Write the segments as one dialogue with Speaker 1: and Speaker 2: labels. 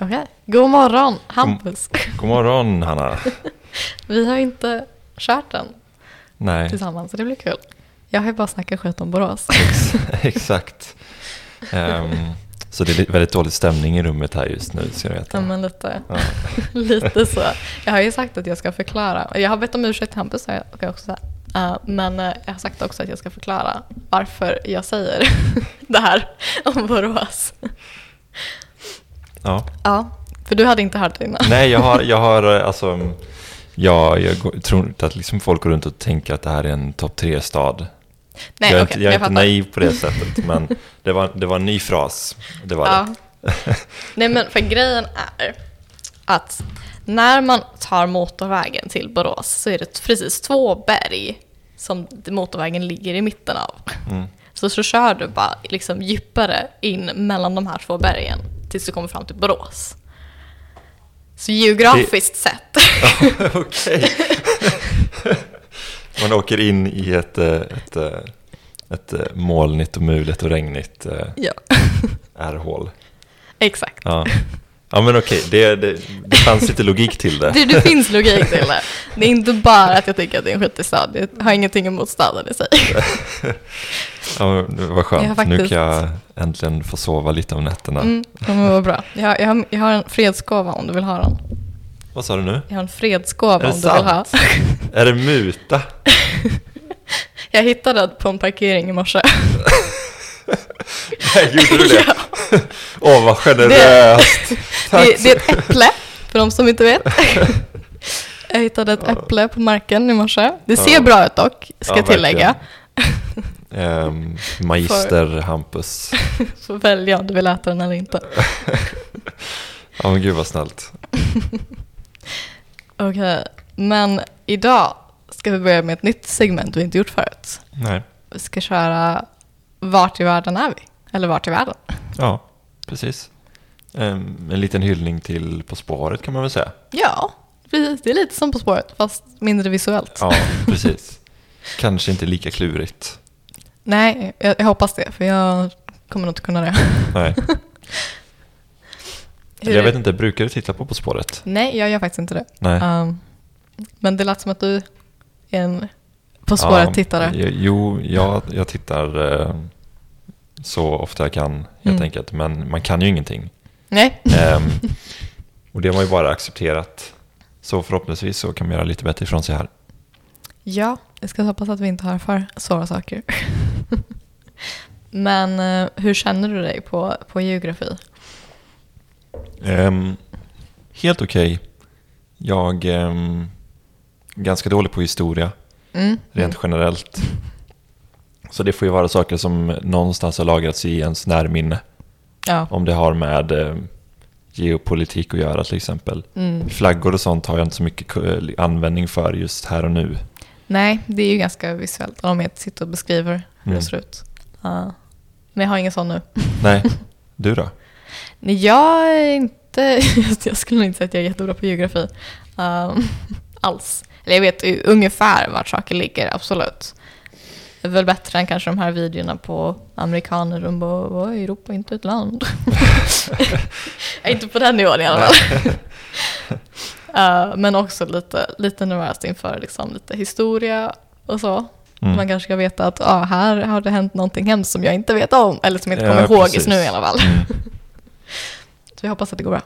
Speaker 1: Okej. God morgon, Hampus.
Speaker 2: God morgon Hanna.
Speaker 1: Vi har inte kört den
Speaker 2: Nej,
Speaker 1: tillsammans, så det blir kul. Jag har ju bara snackat skit om Borås.
Speaker 2: exakt. Ehm, så det är li- väldigt dålig stämning i rummet här just nu, ska du veta.
Speaker 1: Ja, Men lite,
Speaker 2: Ja.
Speaker 1: lite så. Jag har ju sagt att jag ska förklara. Jag har bett om ursäkt till Hampus, har jag- kan jag också säga. Eh, men eh, jag har sagt också att jag ska förklara varför jag säger det här om Borås.
Speaker 2: Ja.
Speaker 1: Ja, för du hade inte hört det innan.
Speaker 2: Nej, jag har, jag har eh, alltså, mm, ja, jag går- tror inte att liksom folk går runt och tänker att det här är en topp tre-stad.
Speaker 1: Nej,
Speaker 2: jag är,
Speaker 1: okej,
Speaker 2: inte, jag är inte
Speaker 1: fattar.
Speaker 2: naiv på det sättet, men det var, det var en ny fras. Det var
Speaker 1: Ja.
Speaker 2: det.
Speaker 1: Nej men för grejen är att när man tar motorvägen till Borås så är det precis två berg som motorvägen ligger i mitten av.
Speaker 2: Mm.
Speaker 1: Så, så kör du bara liksom djupare in mellan de här två bergen tills du kommer fram till Borås. Så geografiskt sett.
Speaker 2: Okej. Man åker in i ett, eh, ett, eh, ett eh, molnigt och muligt och regnigt eh,
Speaker 1: ja,
Speaker 2: ärrhål.
Speaker 1: exakt.
Speaker 2: Ja, ja men okej, det, det, det fanns lite logik till det.
Speaker 1: Det, det finns logik till det. Det är inte bara att jag tycker att det är en skitig stad. Jag har ingenting emot staden i sig.
Speaker 2: Ja, men det var
Speaker 1: Jag har
Speaker 2: skönt,
Speaker 1: faktiskt-
Speaker 2: nu kan jag äntligen få sova lite om nätterna.
Speaker 1: Mm, ja, men vad bra. Jag, har- jag, har, jag har en fredsgåva om du vill ha den.
Speaker 2: Vad sa du nu?
Speaker 1: Jag har en
Speaker 2: Är det
Speaker 1: fredsgåva om du vill ha.
Speaker 2: sant? Är det muta?
Speaker 1: Jag hittade den på en parkering i morse.
Speaker 2: Nej, Gjorde du det?
Speaker 1: Ja.
Speaker 2: Åh, vad generöst! Tack
Speaker 1: Det, det är ett äpple, för de som inte vet. Jag hittade ett äpple på marken i morse. Det ser
Speaker 2: Ja.
Speaker 1: bra ut dock, ska
Speaker 2: Ja,
Speaker 1: tillägga.
Speaker 2: Ehm, magister Hampus.
Speaker 1: Så välja om du vill äta den eller inte.
Speaker 2: Ja, men gud vad snällt.
Speaker 1: Okej, men idag ska vi börja med ett nytt segment vi inte gjort förut.
Speaker 2: Nej,
Speaker 1: Vi ska köra Vart i världen är vi? Eller Vart i världen?
Speaker 2: ja, precis. Ehm, en liten hyllning till På spåret kan man väl säga.
Speaker 1: Ja, precis. Det är lite som På spåret, fast mindre visuellt.
Speaker 2: Ja, precis. Kanske inte lika klurigt.
Speaker 1: Nej, jag, jag hoppas det, för jag kommer nog inte kunna det.
Speaker 2: Nej,
Speaker 1: Hur
Speaker 2: jag
Speaker 1: är-
Speaker 2: vet inte, brukar du titta på På spåret?
Speaker 1: Nej, jag gör faktiskt inte det.
Speaker 2: Nej.
Speaker 1: Um, men det lät som att du är en På spåret-tittare.
Speaker 2: Ja, jo, jag, jag tittar eh, så ofta jag kan helt
Speaker 1: Mm.
Speaker 2: enkelt. Men man kan ju ingenting.
Speaker 1: Nej,
Speaker 2: Ehm, och det har man ju bara accepterat. Så förhoppningsvis så kan man göra lite bättre ifrån sig här.
Speaker 1: ja, jag ska hoppas att vi inte har för svåra saker. men eh, hur känner du dig på, på geografi?
Speaker 2: Ehm, helt okej. Jag ehm, är ganska dålig på historia
Speaker 1: Mm.
Speaker 2: rent generellt. Så det får ju vara saker som någonstans har lagrats i ens närminne.
Speaker 1: Ja.
Speaker 2: Om det har med eh, geopolitik att göra till exempel.
Speaker 1: Mm.
Speaker 2: Flaggor och sånt har jag inte så mycket ku- användning för just här och nu.
Speaker 1: Nej, det är ju ganska visuellt om jag sitter och beskriver hur det
Speaker 2: Mm.
Speaker 1: ser ut. Ja. men jag har ingen sån nu.
Speaker 2: Nej, du då?
Speaker 1: Nej, jag är inte... Jag skulle nog inte säga att jag är jättebra på geografi. Ehm, alls. Eller jag vet ju ungefär vart saker ligger, absolut. Det är väl bättre än kanske de här videorna på amerikaner som bara Vad är Europa inte ett land? jag är inte på den nivån i alla fall. Ehm, men också lite, lite nervöst inför liksom, lite historia och så.
Speaker 2: Mm.
Speaker 1: Man kanske ska veta att ah, här har det hänt någonting hemskt som jag inte vet om. Eller som jag inte
Speaker 2: Ja,
Speaker 1: kommer ihåg just
Speaker 2: precis.
Speaker 1: nu i alla fall.
Speaker 2: Mm.
Speaker 1: Så vi hoppas att det går bra.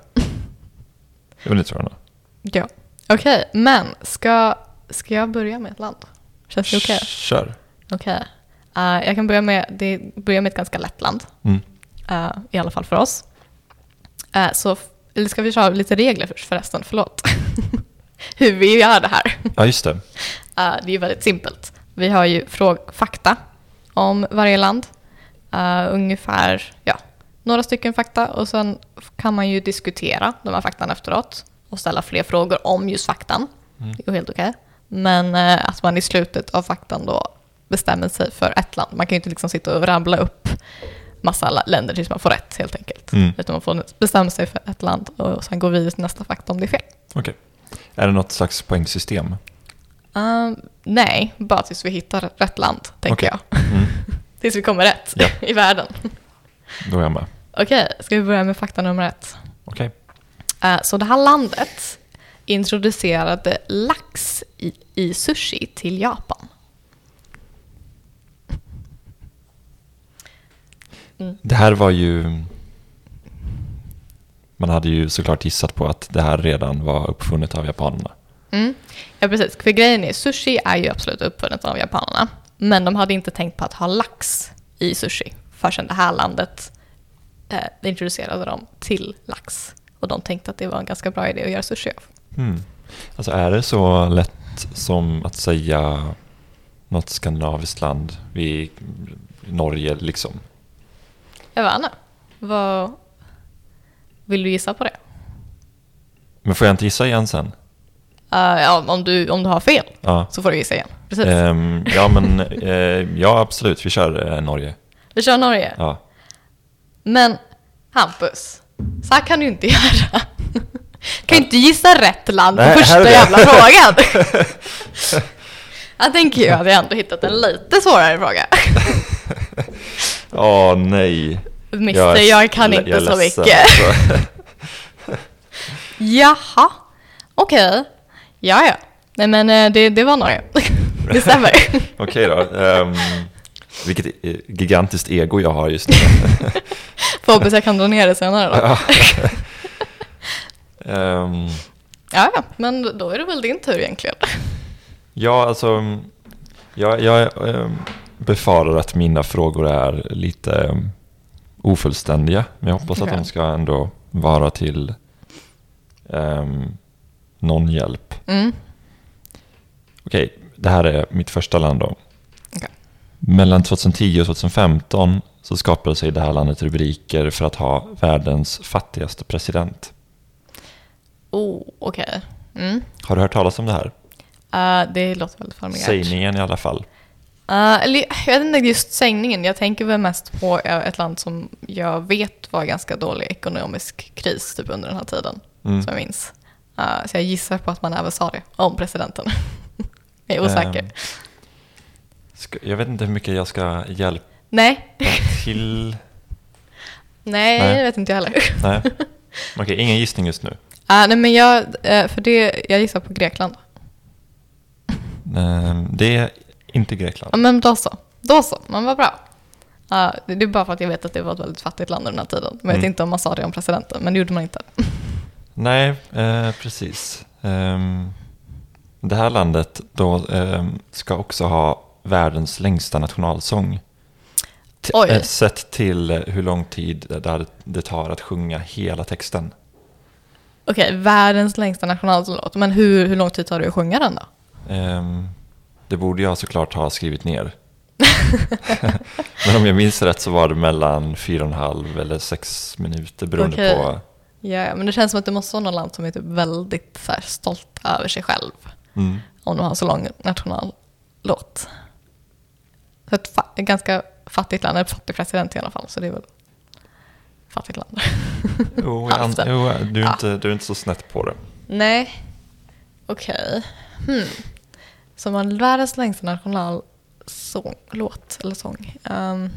Speaker 2: Jag vill inte tro det.
Speaker 1: Ja. Okej, men ska, ska jag börja med ett land? Känns det okej?
Speaker 2: Kör.
Speaker 1: Okej. Eh, jag kan börja med, det börjar med ett ganska lätt land,
Speaker 2: Mm.
Speaker 1: eh, i alla fall för oss. Eh, så, f- eller ska vi köra lite regler först förresten? Förlåt. Hur vi gör det här.
Speaker 2: Ja, just det.
Speaker 1: Eh, det är ju väldigt simpelt. Vi har ju fråg- fakta om varje land. Eh, ungefär ja, några stycken fakta och sen f- kan man ju diskutera de här faktan efteråt och ställa fler frågor om just faktan.
Speaker 2: Mm.
Speaker 1: Det går helt okej. Men eh, att man i slutet av faktan då bestämmer sig för ett land. Man kan ju inte liksom sitta och rabbla upp massa la- länder tills man får rätt helt enkelt.
Speaker 2: Mm.
Speaker 1: Utan man får bestämma sig för ett land och sen går vi vidare till nästa fakta om det är fel.
Speaker 2: Okej. Är det något slags poängsystem?
Speaker 1: Ehm, nej, bara tills vi hittar rätt land, tänker
Speaker 2: Okej.
Speaker 1: jag.
Speaker 2: Mm.
Speaker 1: Tills vi kommer rätt
Speaker 2: Ja.
Speaker 1: i världen.
Speaker 2: Då är jag med.
Speaker 1: Okej, ska vi börja med fakta nummer ett?
Speaker 2: Okej.
Speaker 1: Eh, Så det här landet introducerade lax i, i sushi till Japan.
Speaker 2: Det här var ju... Man hade ju såklart gissat på att det här redan var uppfunnet av japanerna.
Speaker 1: Mm. Ja, precis. För grejen är, sushi är ju absolut uppfunnet av japanerna. Men de hade inte tänkt på att ha lax i sushi förrän det här landet eh, introducerade dem till lax. Och de tänkte att det var en ganska bra idé att göra sushi av.
Speaker 2: Mm. Alltså är det så lätt som att säga något skandinaviskt land vid Norge liksom?
Speaker 1: Jag vet inte. Vad... Vill du gissa på det?
Speaker 2: Men får jag inte gissa igen sen?
Speaker 1: Eh, ja, om, du, om du har fel
Speaker 2: Ja,
Speaker 1: så får du gissa igen. Precis.
Speaker 2: Ehm, ja men eh, ja absolut, vi kör eh, Norge.
Speaker 1: Vi kör Norge.
Speaker 2: Ja.
Speaker 1: Men Hampus, så här kan du inte göra. Du kan ju inte gissa rätt land på
Speaker 2: Nej, här är
Speaker 1: första
Speaker 2: det.
Speaker 1: jävla frågan. Jag tänker ju att vi ändå hittat en lite svårare fråga.
Speaker 2: Åh nej.
Speaker 1: Mister, jag, kan inte
Speaker 2: jag är
Speaker 1: så
Speaker 2: ledsen,
Speaker 1: mycket.
Speaker 2: alltså.
Speaker 1: Jaha, okej. Ja, ja. Nej men eh, det, det var Norge. Det stämmer.
Speaker 2: Okej då. ehm, vilket eh, gigantiskt ego jag har just nu.
Speaker 1: Förhoppningsvis jag kan dra ner det senare då.
Speaker 2: Ja. Ehm,
Speaker 1: Ja, ja. Men då är det väl din tur egentligen.
Speaker 2: ja, alltså. mm, Jag, jag ehm, befarar att mina frågor är lite ehm, ofullständiga. Men jag hoppas att
Speaker 1: Okej.
Speaker 2: de ska ändå vara till ehm, någon hjälp.
Speaker 1: Mm.
Speaker 2: Okej, det här är mitt första land då.
Speaker 1: Okej.
Speaker 2: Mellan 2010 och 2015 så skapade sig i det här landet rubriker för att ha världens fattigaste president.
Speaker 1: Oh, okej. Mm.
Speaker 2: Har du hört talas om det här?
Speaker 1: Eh, det låter väldigt formerat.
Speaker 2: Sägningen i alla fall.
Speaker 1: Eh, eller, jag vet inte just sägningen. Jag tänker väl mest på eh, ett land som jag vet var ganska dålig ekonomisk kris typ under den här tiden.
Speaker 2: Mm.
Speaker 1: Som jag minns. Eh, så jag gissar på att man även sa det om presidenten. jag är osäker.
Speaker 2: Ehm, ska, jag vet inte hur mycket jag ska hjälpa
Speaker 1: nej.
Speaker 2: till.
Speaker 1: nej,
Speaker 2: nej.
Speaker 1: jag vet inte jag heller.
Speaker 2: Nej. Okej, ingen gissning just nu.
Speaker 1: Eh, nej, men jag, eh, för det, jag gissar på Grekland.
Speaker 2: Ehm, det är inte
Speaker 1: Ja,
Speaker 2: Grekland.
Speaker 1: men då så. Då så, men vad bra. Eh, det det är bara för att jag vet att det var ett väldigt fattigt land under den här tiden. Men jag vet
Speaker 2: Mm.
Speaker 1: inte om man sa det om presidenten, men det gjorde man inte.
Speaker 2: Nej, eh, precis. Ehm, det här landet då, ehm, ska också ha världens längsta nationalsång. T-
Speaker 1: Oj.
Speaker 2: eh, Sett till eh, hur lång tid det- där det tar att sjunga hela texten.
Speaker 1: Okej, världens längsta nationallåt. Men hur, hur lång tid tar det att sjunga den då?
Speaker 2: Ehm, det borde jag såklart ha skrivit ner. Men om jag minns rätt så var det mellan fyra och en halv eller sex minuter beroende
Speaker 1: Okej.
Speaker 2: på.
Speaker 1: Ja, men det känns som att det måste vara något land som är typ väldigt så här, stolt över sig själv.
Speaker 2: Mm.
Speaker 1: Om de har så lång nationallåt. Så ett, fa- ett ganska fattigt land, ett fattig president i alla fall. Så det är väl fattigt land.
Speaker 2: Jo, jag an-
Speaker 1: Halsen.
Speaker 2: jo, du, är
Speaker 1: Ja.
Speaker 2: inte, du är inte så snett på det.
Speaker 1: Nej, okej. Hmm. Som har världens längsta nationalsång, låt eller sång. Ehm,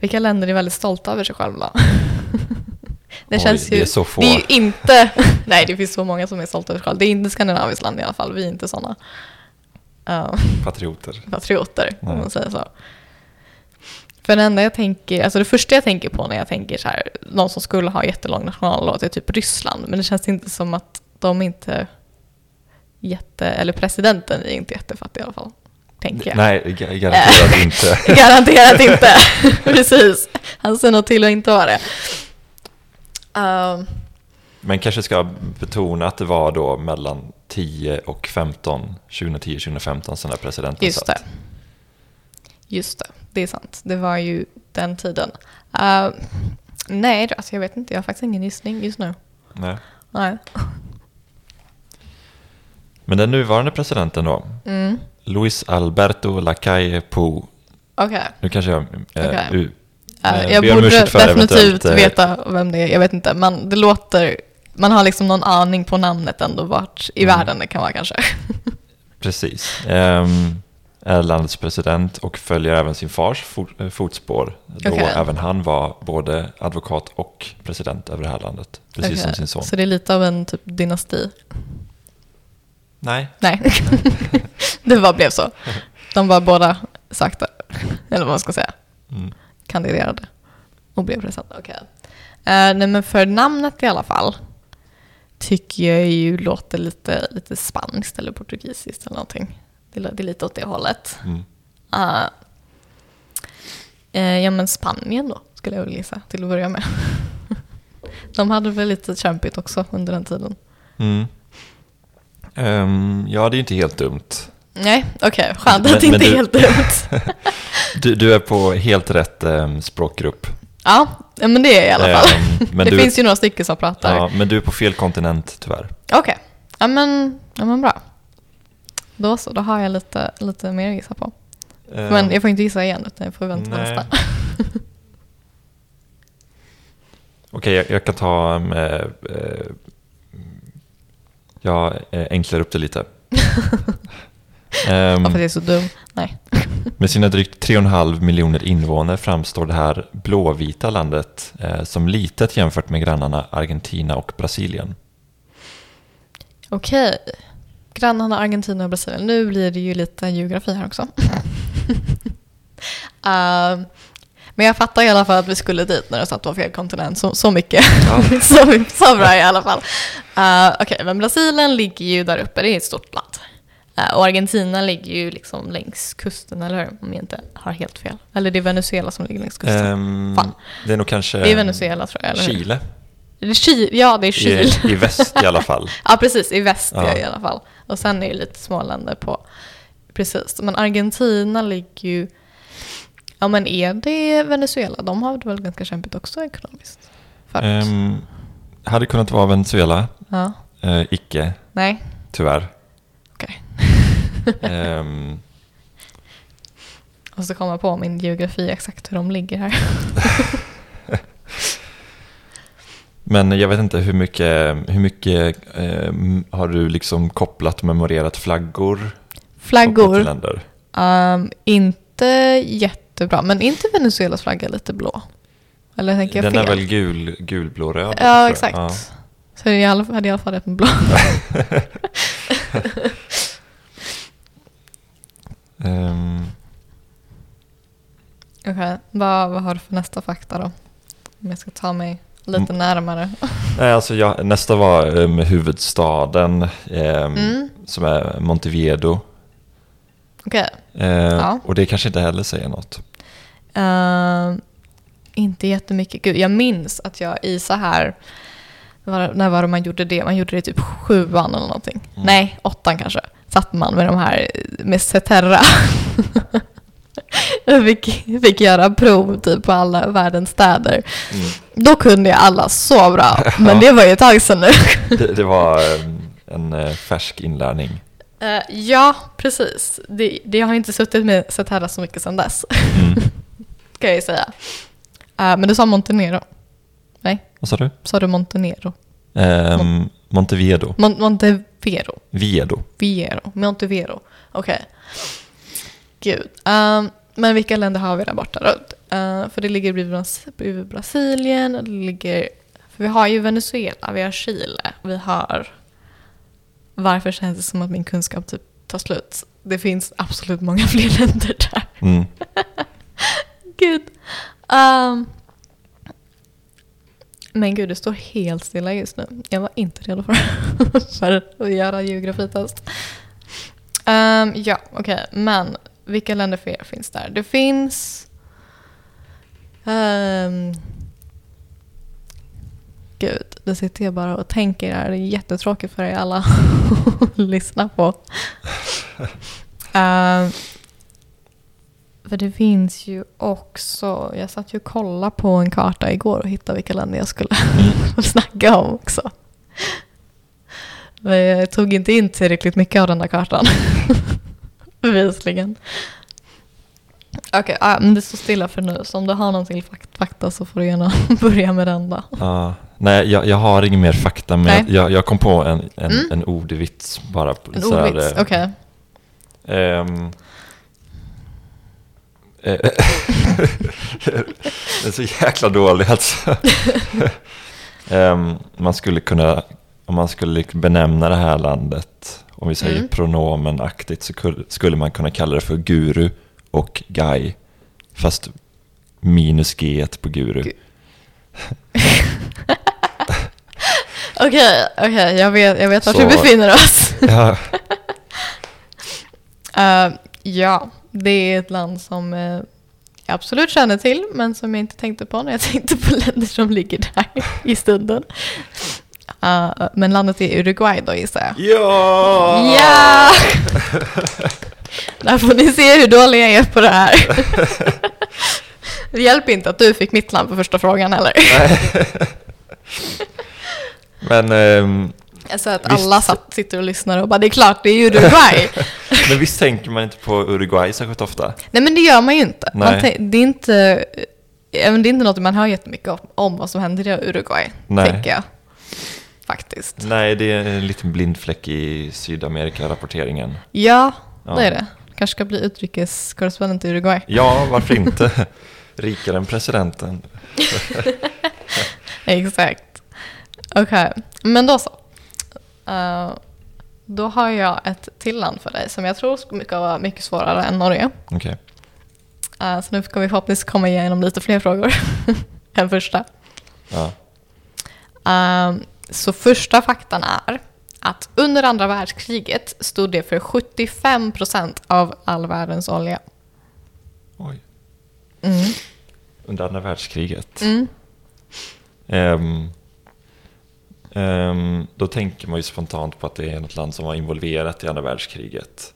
Speaker 1: vilka länder är väldigt stolta över sig själva? det
Speaker 2: Oj,
Speaker 1: känns ju...
Speaker 2: det är så få.
Speaker 1: Det är ju inte... Nej, det finns så många som är stolta över sig själva. Det är inte skandinaviskt land i alla fall. Vi är inte Ehm. sådana
Speaker 2: Patrioter.
Speaker 1: patrioter,
Speaker 2: Nej.
Speaker 1: om man säger så. För det enda jag tänker, alltså det första jag tänker på när jag tänker så här, någon som skulle ha jättelång nationallåt är typ Ryssland, men det känns inte som att de inte jätte, eller presidenten är inte jättefattig i alla fall, tänker jag. Eh,
Speaker 2: Nej, ga- garanterat inte.
Speaker 1: Garanterat inte, precis. Han ser nog till att inte vara det. Ehm,
Speaker 2: Men kanske ska betona att det var då mellan 10 och 15, 2010-2015 som den här presidenten
Speaker 1: Just
Speaker 2: satt.
Speaker 1: det. Just det, det är sant. Det var ju den tiden. Eh, nej, då, alltså jag vet inte. Jag har faktiskt ingen gissning just nu.
Speaker 2: Nej.
Speaker 1: Nej.
Speaker 2: Men den nuvarande presidenten då,
Speaker 1: Mm.
Speaker 2: Luis Alberto Lacaille Pou.
Speaker 1: Okej.
Speaker 2: Nu kanske jag... Eh,
Speaker 1: Okej.
Speaker 2: u-
Speaker 1: Eh,
Speaker 2: eh,
Speaker 1: jag
Speaker 2: ber om
Speaker 1: borde
Speaker 2: ursäkt för
Speaker 1: definitivt
Speaker 2: eventuellt, eh,
Speaker 1: veta vem det är. Jag vet inte, men det låter... Man har liksom någon aning på namnet ändå vart i
Speaker 2: Mm.
Speaker 1: världen det kan vara kanske.
Speaker 2: Precis. Ehm, är landets president och följer även sin fars fot- eh, fotspår. Då
Speaker 1: Okej.
Speaker 2: även han var både advokat och president över det här landet. Precis som
Speaker 1: Okej,
Speaker 2: sin son.
Speaker 1: Så det är lite av en typ dynasti.
Speaker 2: Nej,
Speaker 1: Nej, det bara blev så. De var båda sökte, eller vad man ska säga,
Speaker 2: mm.
Speaker 1: kandiderade och blev president. Okej. Eh, nej men för namnet i alla fall tycker jag ju låter lite, lite spanskt eller portugisiskt eller någonting. Det, lå- det är lite åt det hållet.
Speaker 2: Mm.
Speaker 1: Eh, eh, ja men Spanien då, skulle jag väl gissa till att börja med. De hade väl lite kämpigt också under den tiden.
Speaker 2: Mm. Ehm, ja, det är ju inte helt dumt.
Speaker 1: Nej, okej, skönt
Speaker 2: Men-
Speaker 1: att det inte
Speaker 2: men
Speaker 1: är
Speaker 2: du-
Speaker 1: helt dumt.
Speaker 2: Du, du är på helt rätt ehm, språkgrupp.
Speaker 1: Ja, men det är jag i alla fall.
Speaker 2: Ehm, men
Speaker 1: det
Speaker 2: du,
Speaker 1: finns ju några stycken som pratar.
Speaker 2: ja, men du är på fel kontinent tyvärr.
Speaker 1: Okej, ja, men, ja men bra. Då så, då har jag lite, lite mer att gissa på.
Speaker 2: Ehm,
Speaker 1: Men jag får inte gissa igen utan jag får vänta på
Speaker 2: nej.
Speaker 1: nästa.
Speaker 2: Okej, jag, jag kan ta... ehm, eh, eh, jag eh, enklar upp det lite. Ehm,
Speaker 1: Ja, för det är så dum. Nej.
Speaker 2: Med sina drygt 3,5 miljoner invånare framstår det här blåvita landet eh, som litet jämfört med grannarna Argentina och Brasilien.
Speaker 1: Okej. Grannarna Argentina och Brasilien. Nu blir det ju lite geografi här också. Ehm, men jag fattar i alla fall att vi skulle dit när det satt på fel kontinent. Så, så mycket.
Speaker 2: Ja.
Speaker 1: så, så bra i alla fall. Eh, Okej, men Brasilien ligger ju där uppe. Det är ett stort land. Eh, och Argentina ligger ju liksom längs kusten, eller hur? Om jag inte har helt fel. Eller det är Venezuela som ligger längs kusten.
Speaker 2: Ehm,
Speaker 1: Fan.
Speaker 2: det är nog kanske
Speaker 1: det är Venezuela tror jag, eller hur?
Speaker 2: Chile.
Speaker 1: Det är Chile. Ja, det är Chile.
Speaker 2: I, I väst i alla fall.
Speaker 1: Ja, precis. I väst
Speaker 2: Ja.
Speaker 1: i alla fall. Och sen är det lite småländer på... Precis. Men Argentina ligger ju... Ja, men är det Venezuela? De har det väl ganska kämpigt också ekonomiskt? Förut.
Speaker 2: Ehm, hade kunnat vara Venezuela,
Speaker 1: ja.
Speaker 2: eh, icke
Speaker 1: Nej.
Speaker 2: tyvärr.
Speaker 1: Okej.
Speaker 2: Ehm,
Speaker 1: Och så kommer jag på min geografi exakt hur de ligger här.
Speaker 2: men jag vet inte hur mycket, hur mycket ehm, har du liksom kopplat och memorerat flaggor? kopplat till
Speaker 1: Flaggor.
Speaker 2: länder?
Speaker 1: Um, inte jättebra. Men inte Venezuelas flagga lite blå? Eller tänker jag
Speaker 2: Den
Speaker 1: fel?
Speaker 2: är väl gul, gulblå-röd? tror
Speaker 1: Ja,
Speaker 2: jag.
Speaker 1: exakt.
Speaker 2: Ja.
Speaker 1: Så jag hade i alla- hade i alla fall rätt med blå.
Speaker 2: Ehm,
Speaker 1: Okej, vad, vad har du för nästa fakta då? Om jag ska ta mig lite närmare.
Speaker 2: nej, alltså jag, nästa var ehm, huvudstaden ehm,
Speaker 1: Mm.
Speaker 2: som är Montevideo.
Speaker 1: Okej.
Speaker 2: Ehm,
Speaker 1: Ja.
Speaker 2: Och det kanske inte heller säger något.
Speaker 1: Ehm, inte jättemycket. Gud, jag minns att jag i så här... Var, när var det man gjorde det? Man gjorde det i typ sjuan eller någonting.
Speaker 2: Mm.
Speaker 1: Nej, åttan kanske. Satt man med de här med Cetera. jag fick, fick göra prov typ på alla världens städer.
Speaker 2: Mm.
Speaker 1: Då kunde jag alla så bra. Men det var ju ett tag sedan nu.
Speaker 2: Det, det var ehm, en eh, färsk inlärning.
Speaker 1: Eh, ja, precis. Det, det jag har inte suttit med sett här så mycket sedan dess,
Speaker 2: Mm.
Speaker 1: ska jag ju säga. Eh, men du sa Montenegro.
Speaker 2: Vad sa du?
Speaker 1: Sa du Montenegro?
Speaker 2: Ehm, Montevideo.
Speaker 1: Mon- Montevero?
Speaker 2: Viedo.
Speaker 1: Viero? Montevero? Okej. Gud. Ehm, men vilka länder har vi där borta då? Eh, för det ligger bredvid Bras- bredvid Brasilien, och det ligger... För vi har ju Venezuela, vi har Chile, vi har... Varför känns det som att min kunskap typ tar slut? Det finns absolut många fler länder där.
Speaker 2: Mm.
Speaker 1: Gud. Ehm, men gud, det står helt stilla just nu. Jag var inte redo för, för att göra geografitest. Ehm, ja, okej. Men vilka länder för er finns där? Det finns... ehm, gud, nu sitter jag bara och tänker här. Det är jättetråkigt för er alla att lyssna på. Ehm, för det finns ju också, jag satt ju och kollade på en karta igår och hittade vilka länder jag skulle snacka om också. Men jag tog inte in tillräckligt mycket av den där kartan. Bevisligen. Okej, ah, men det står stilla för nu. Så om du har någon till fak- fakta så får du gärna börja med den då.
Speaker 2: Ja. nej, jag, jag har ingen mer fakta, men
Speaker 1: Nej.
Speaker 2: jag- jag, jag kom på en, en,
Speaker 1: Mm.
Speaker 2: en ordvits bara. på-
Speaker 1: En
Speaker 2: sådär,
Speaker 1: ordvits,
Speaker 2: eh,
Speaker 1: okej.
Speaker 2: ehm, Eh, det är så jäkla dålig alltså. Ehm, man skulle kunna, om man skulle benämna det här landet, om vi säger
Speaker 1: Mm.
Speaker 2: pronomenaktigt, så kul- skulle man kunna kalla det för guru och guy. Fast minus g på guru.
Speaker 1: Gu- Okej, okej, jag vet, jag vet vart vi
Speaker 2: Så-
Speaker 1: befinner oss.
Speaker 2: ja,
Speaker 1: Eh, ja, det är ett land som eh, jag absolut känner till, men som jag inte tänkte på när jag tänkte på länder som ligger där i stunden. Eh, men landet är Uruguay då gissar jag.
Speaker 2: ja!
Speaker 1: Ja! Där får ni se hur dålig jag är på det här. Det hjälper inte att du fick mitt land på första frågan heller.
Speaker 2: Men, ehm,
Speaker 1: Så att
Speaker 2: Visst.
Speaker 1: alla satt, sitter och lyssnar och bara det är klart, det är ju Uruguay.
Speaker 2: men visst tänker man inte på Uruguay särskilt ofta?
Speaker 1: Nej men det gör man ju inte. Man
Speaker 2: Nej.
Speaker 1: tän- det, är inte ja, men det är inte något man hör jättemycket om, om vad som händer i Uruguay,
Speaker 2: Nej.
Speaker 1: tänker jag. Faktiskt.
Speaker 2: Nej, det är en liten blind fläck i Sydamerika-rapporteringen.
Speaker 1: Ja,
Speaker 2: Ja.
Speaker 1: det är det. Kanske ska bli utrikeskorrespondent i Uruguay.
Speaker 2: Ja, varför inte? Rikare än presidenten.
Speaker 1: Exakt. Okej, men då så. Eh, då har jag ett till land för dig som jag tror ska vara mycket svårare än Norge.
Speaker 2: Okej.
Speaker 1: Eh, så nu ska vi förhoppningsvis komma igenom lite fler frågor än första.
Speaker 2: Ja.
Speaker 1: Ehm, så första faktan är att under andra världskriget stod det för 75% av all världens olja.
Speaker 2: Oj.
Speaker 1: Mm.
Speaker 2: Under andra världskriget.
Speaker 1: Mm.
Speaker 2: Ehm, ehm, då tänker man ju spontant på att det är något land som var involverat i andra världskriget.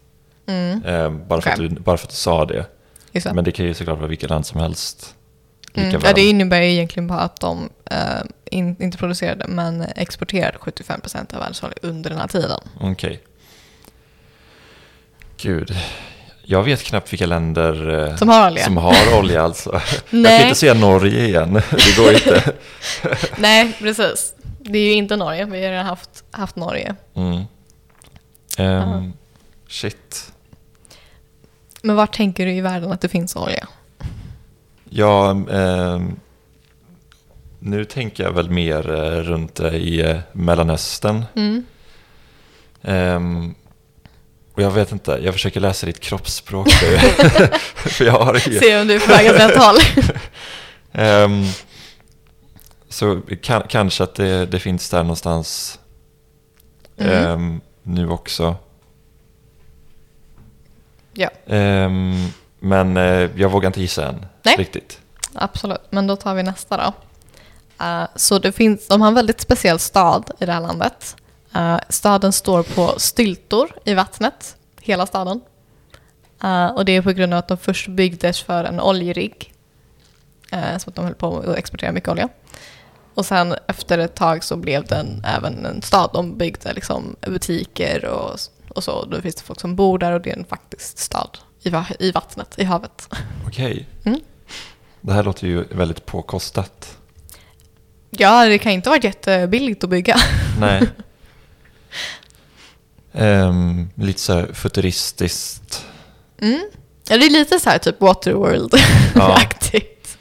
Speaker 1: Mm.
Speaker 2: Ehm, bara, för att
Speaker 1: Okej.
Speaker 2: du, bara för att du sa det.
Speaker 1: Just det.
Speaker 2: Men det kan ju såklart vara vilket land som helst. Lika
Speaker 1: Mm. Ja,
Speaker 2: väl.
Speaker 1: det innebär ju egentligen bara att de eh, in, inte producerade men exporterade 75% av världens olja under den här tiden.
Speaker 2: Okej. Gud. Jag vet knappt vilka länder eh,
Speaker 1: Som har olja.
Speaker 2: som har olja alltså. Jag
Speaker 1: Nej.
Speaker 2: kan inte säga Norge igen. Det går inte.
Speaker 1: Nej, precis. Det är ju inte Norge, vi har redan haft, haft Norge.
Speaker 2: Mm. Ehm,
Speaker 1: Aha.
Speaker 2: shit.
Speaker 1: Men var tänker du i världen att det finns olja?
Speaker 2: Ja, ehm, nu tänker jag väl mer eh, runt eh, i eh, Mellanöstern.
Speaker 1: Mm.
Speaker 2: Ehm, och jag vet inte, jag försöker läsa ditt kroppsspråk nu. För jag har inget.
Speaker 1: Se om du är på väg åt rätt håll.
Speaker 2: Ehm, så ka- kanske att det, det finns där någonstans
Speaker 1: Mm.
Speaker 2: ehm, nu också.
Speaker 1: Ja.
Speaker 2: Ehm, men eh, jag vågar inte gissa än.
Speaker 1: Nej.
Speaker 2: Riktigt.
Speaker 1: Absolut, men då tar vi nästa då. Eh, så det finns, de har en väldigt speciell stad i det här landet. Eh, staden står på styltor i vattnet, hela staden. Eh, och det är på grund av att de först byggdes för en oljerigg. Uh, så att de höll på att exportera mycket olja. Och sen efter ett tag så blev den även en stad. De byggde liksom butiker och, och så. Då finns det folk som bor där och det är en faktisk stad i, va- i vattnet, i havet.
Speaker 2: Okej.
Speaker 1: Mm.
Speaker 2: Det här låter ju väldigt påkostat.
Speaker 1: Ja, det kan inte ha varit jättebilligt att bygga.
Speaker 2: Nej. Ehm, lite så här futuristiskt.
Speaker 1: Mm. Ja, det är lite så här typ Waterworld-aktigt.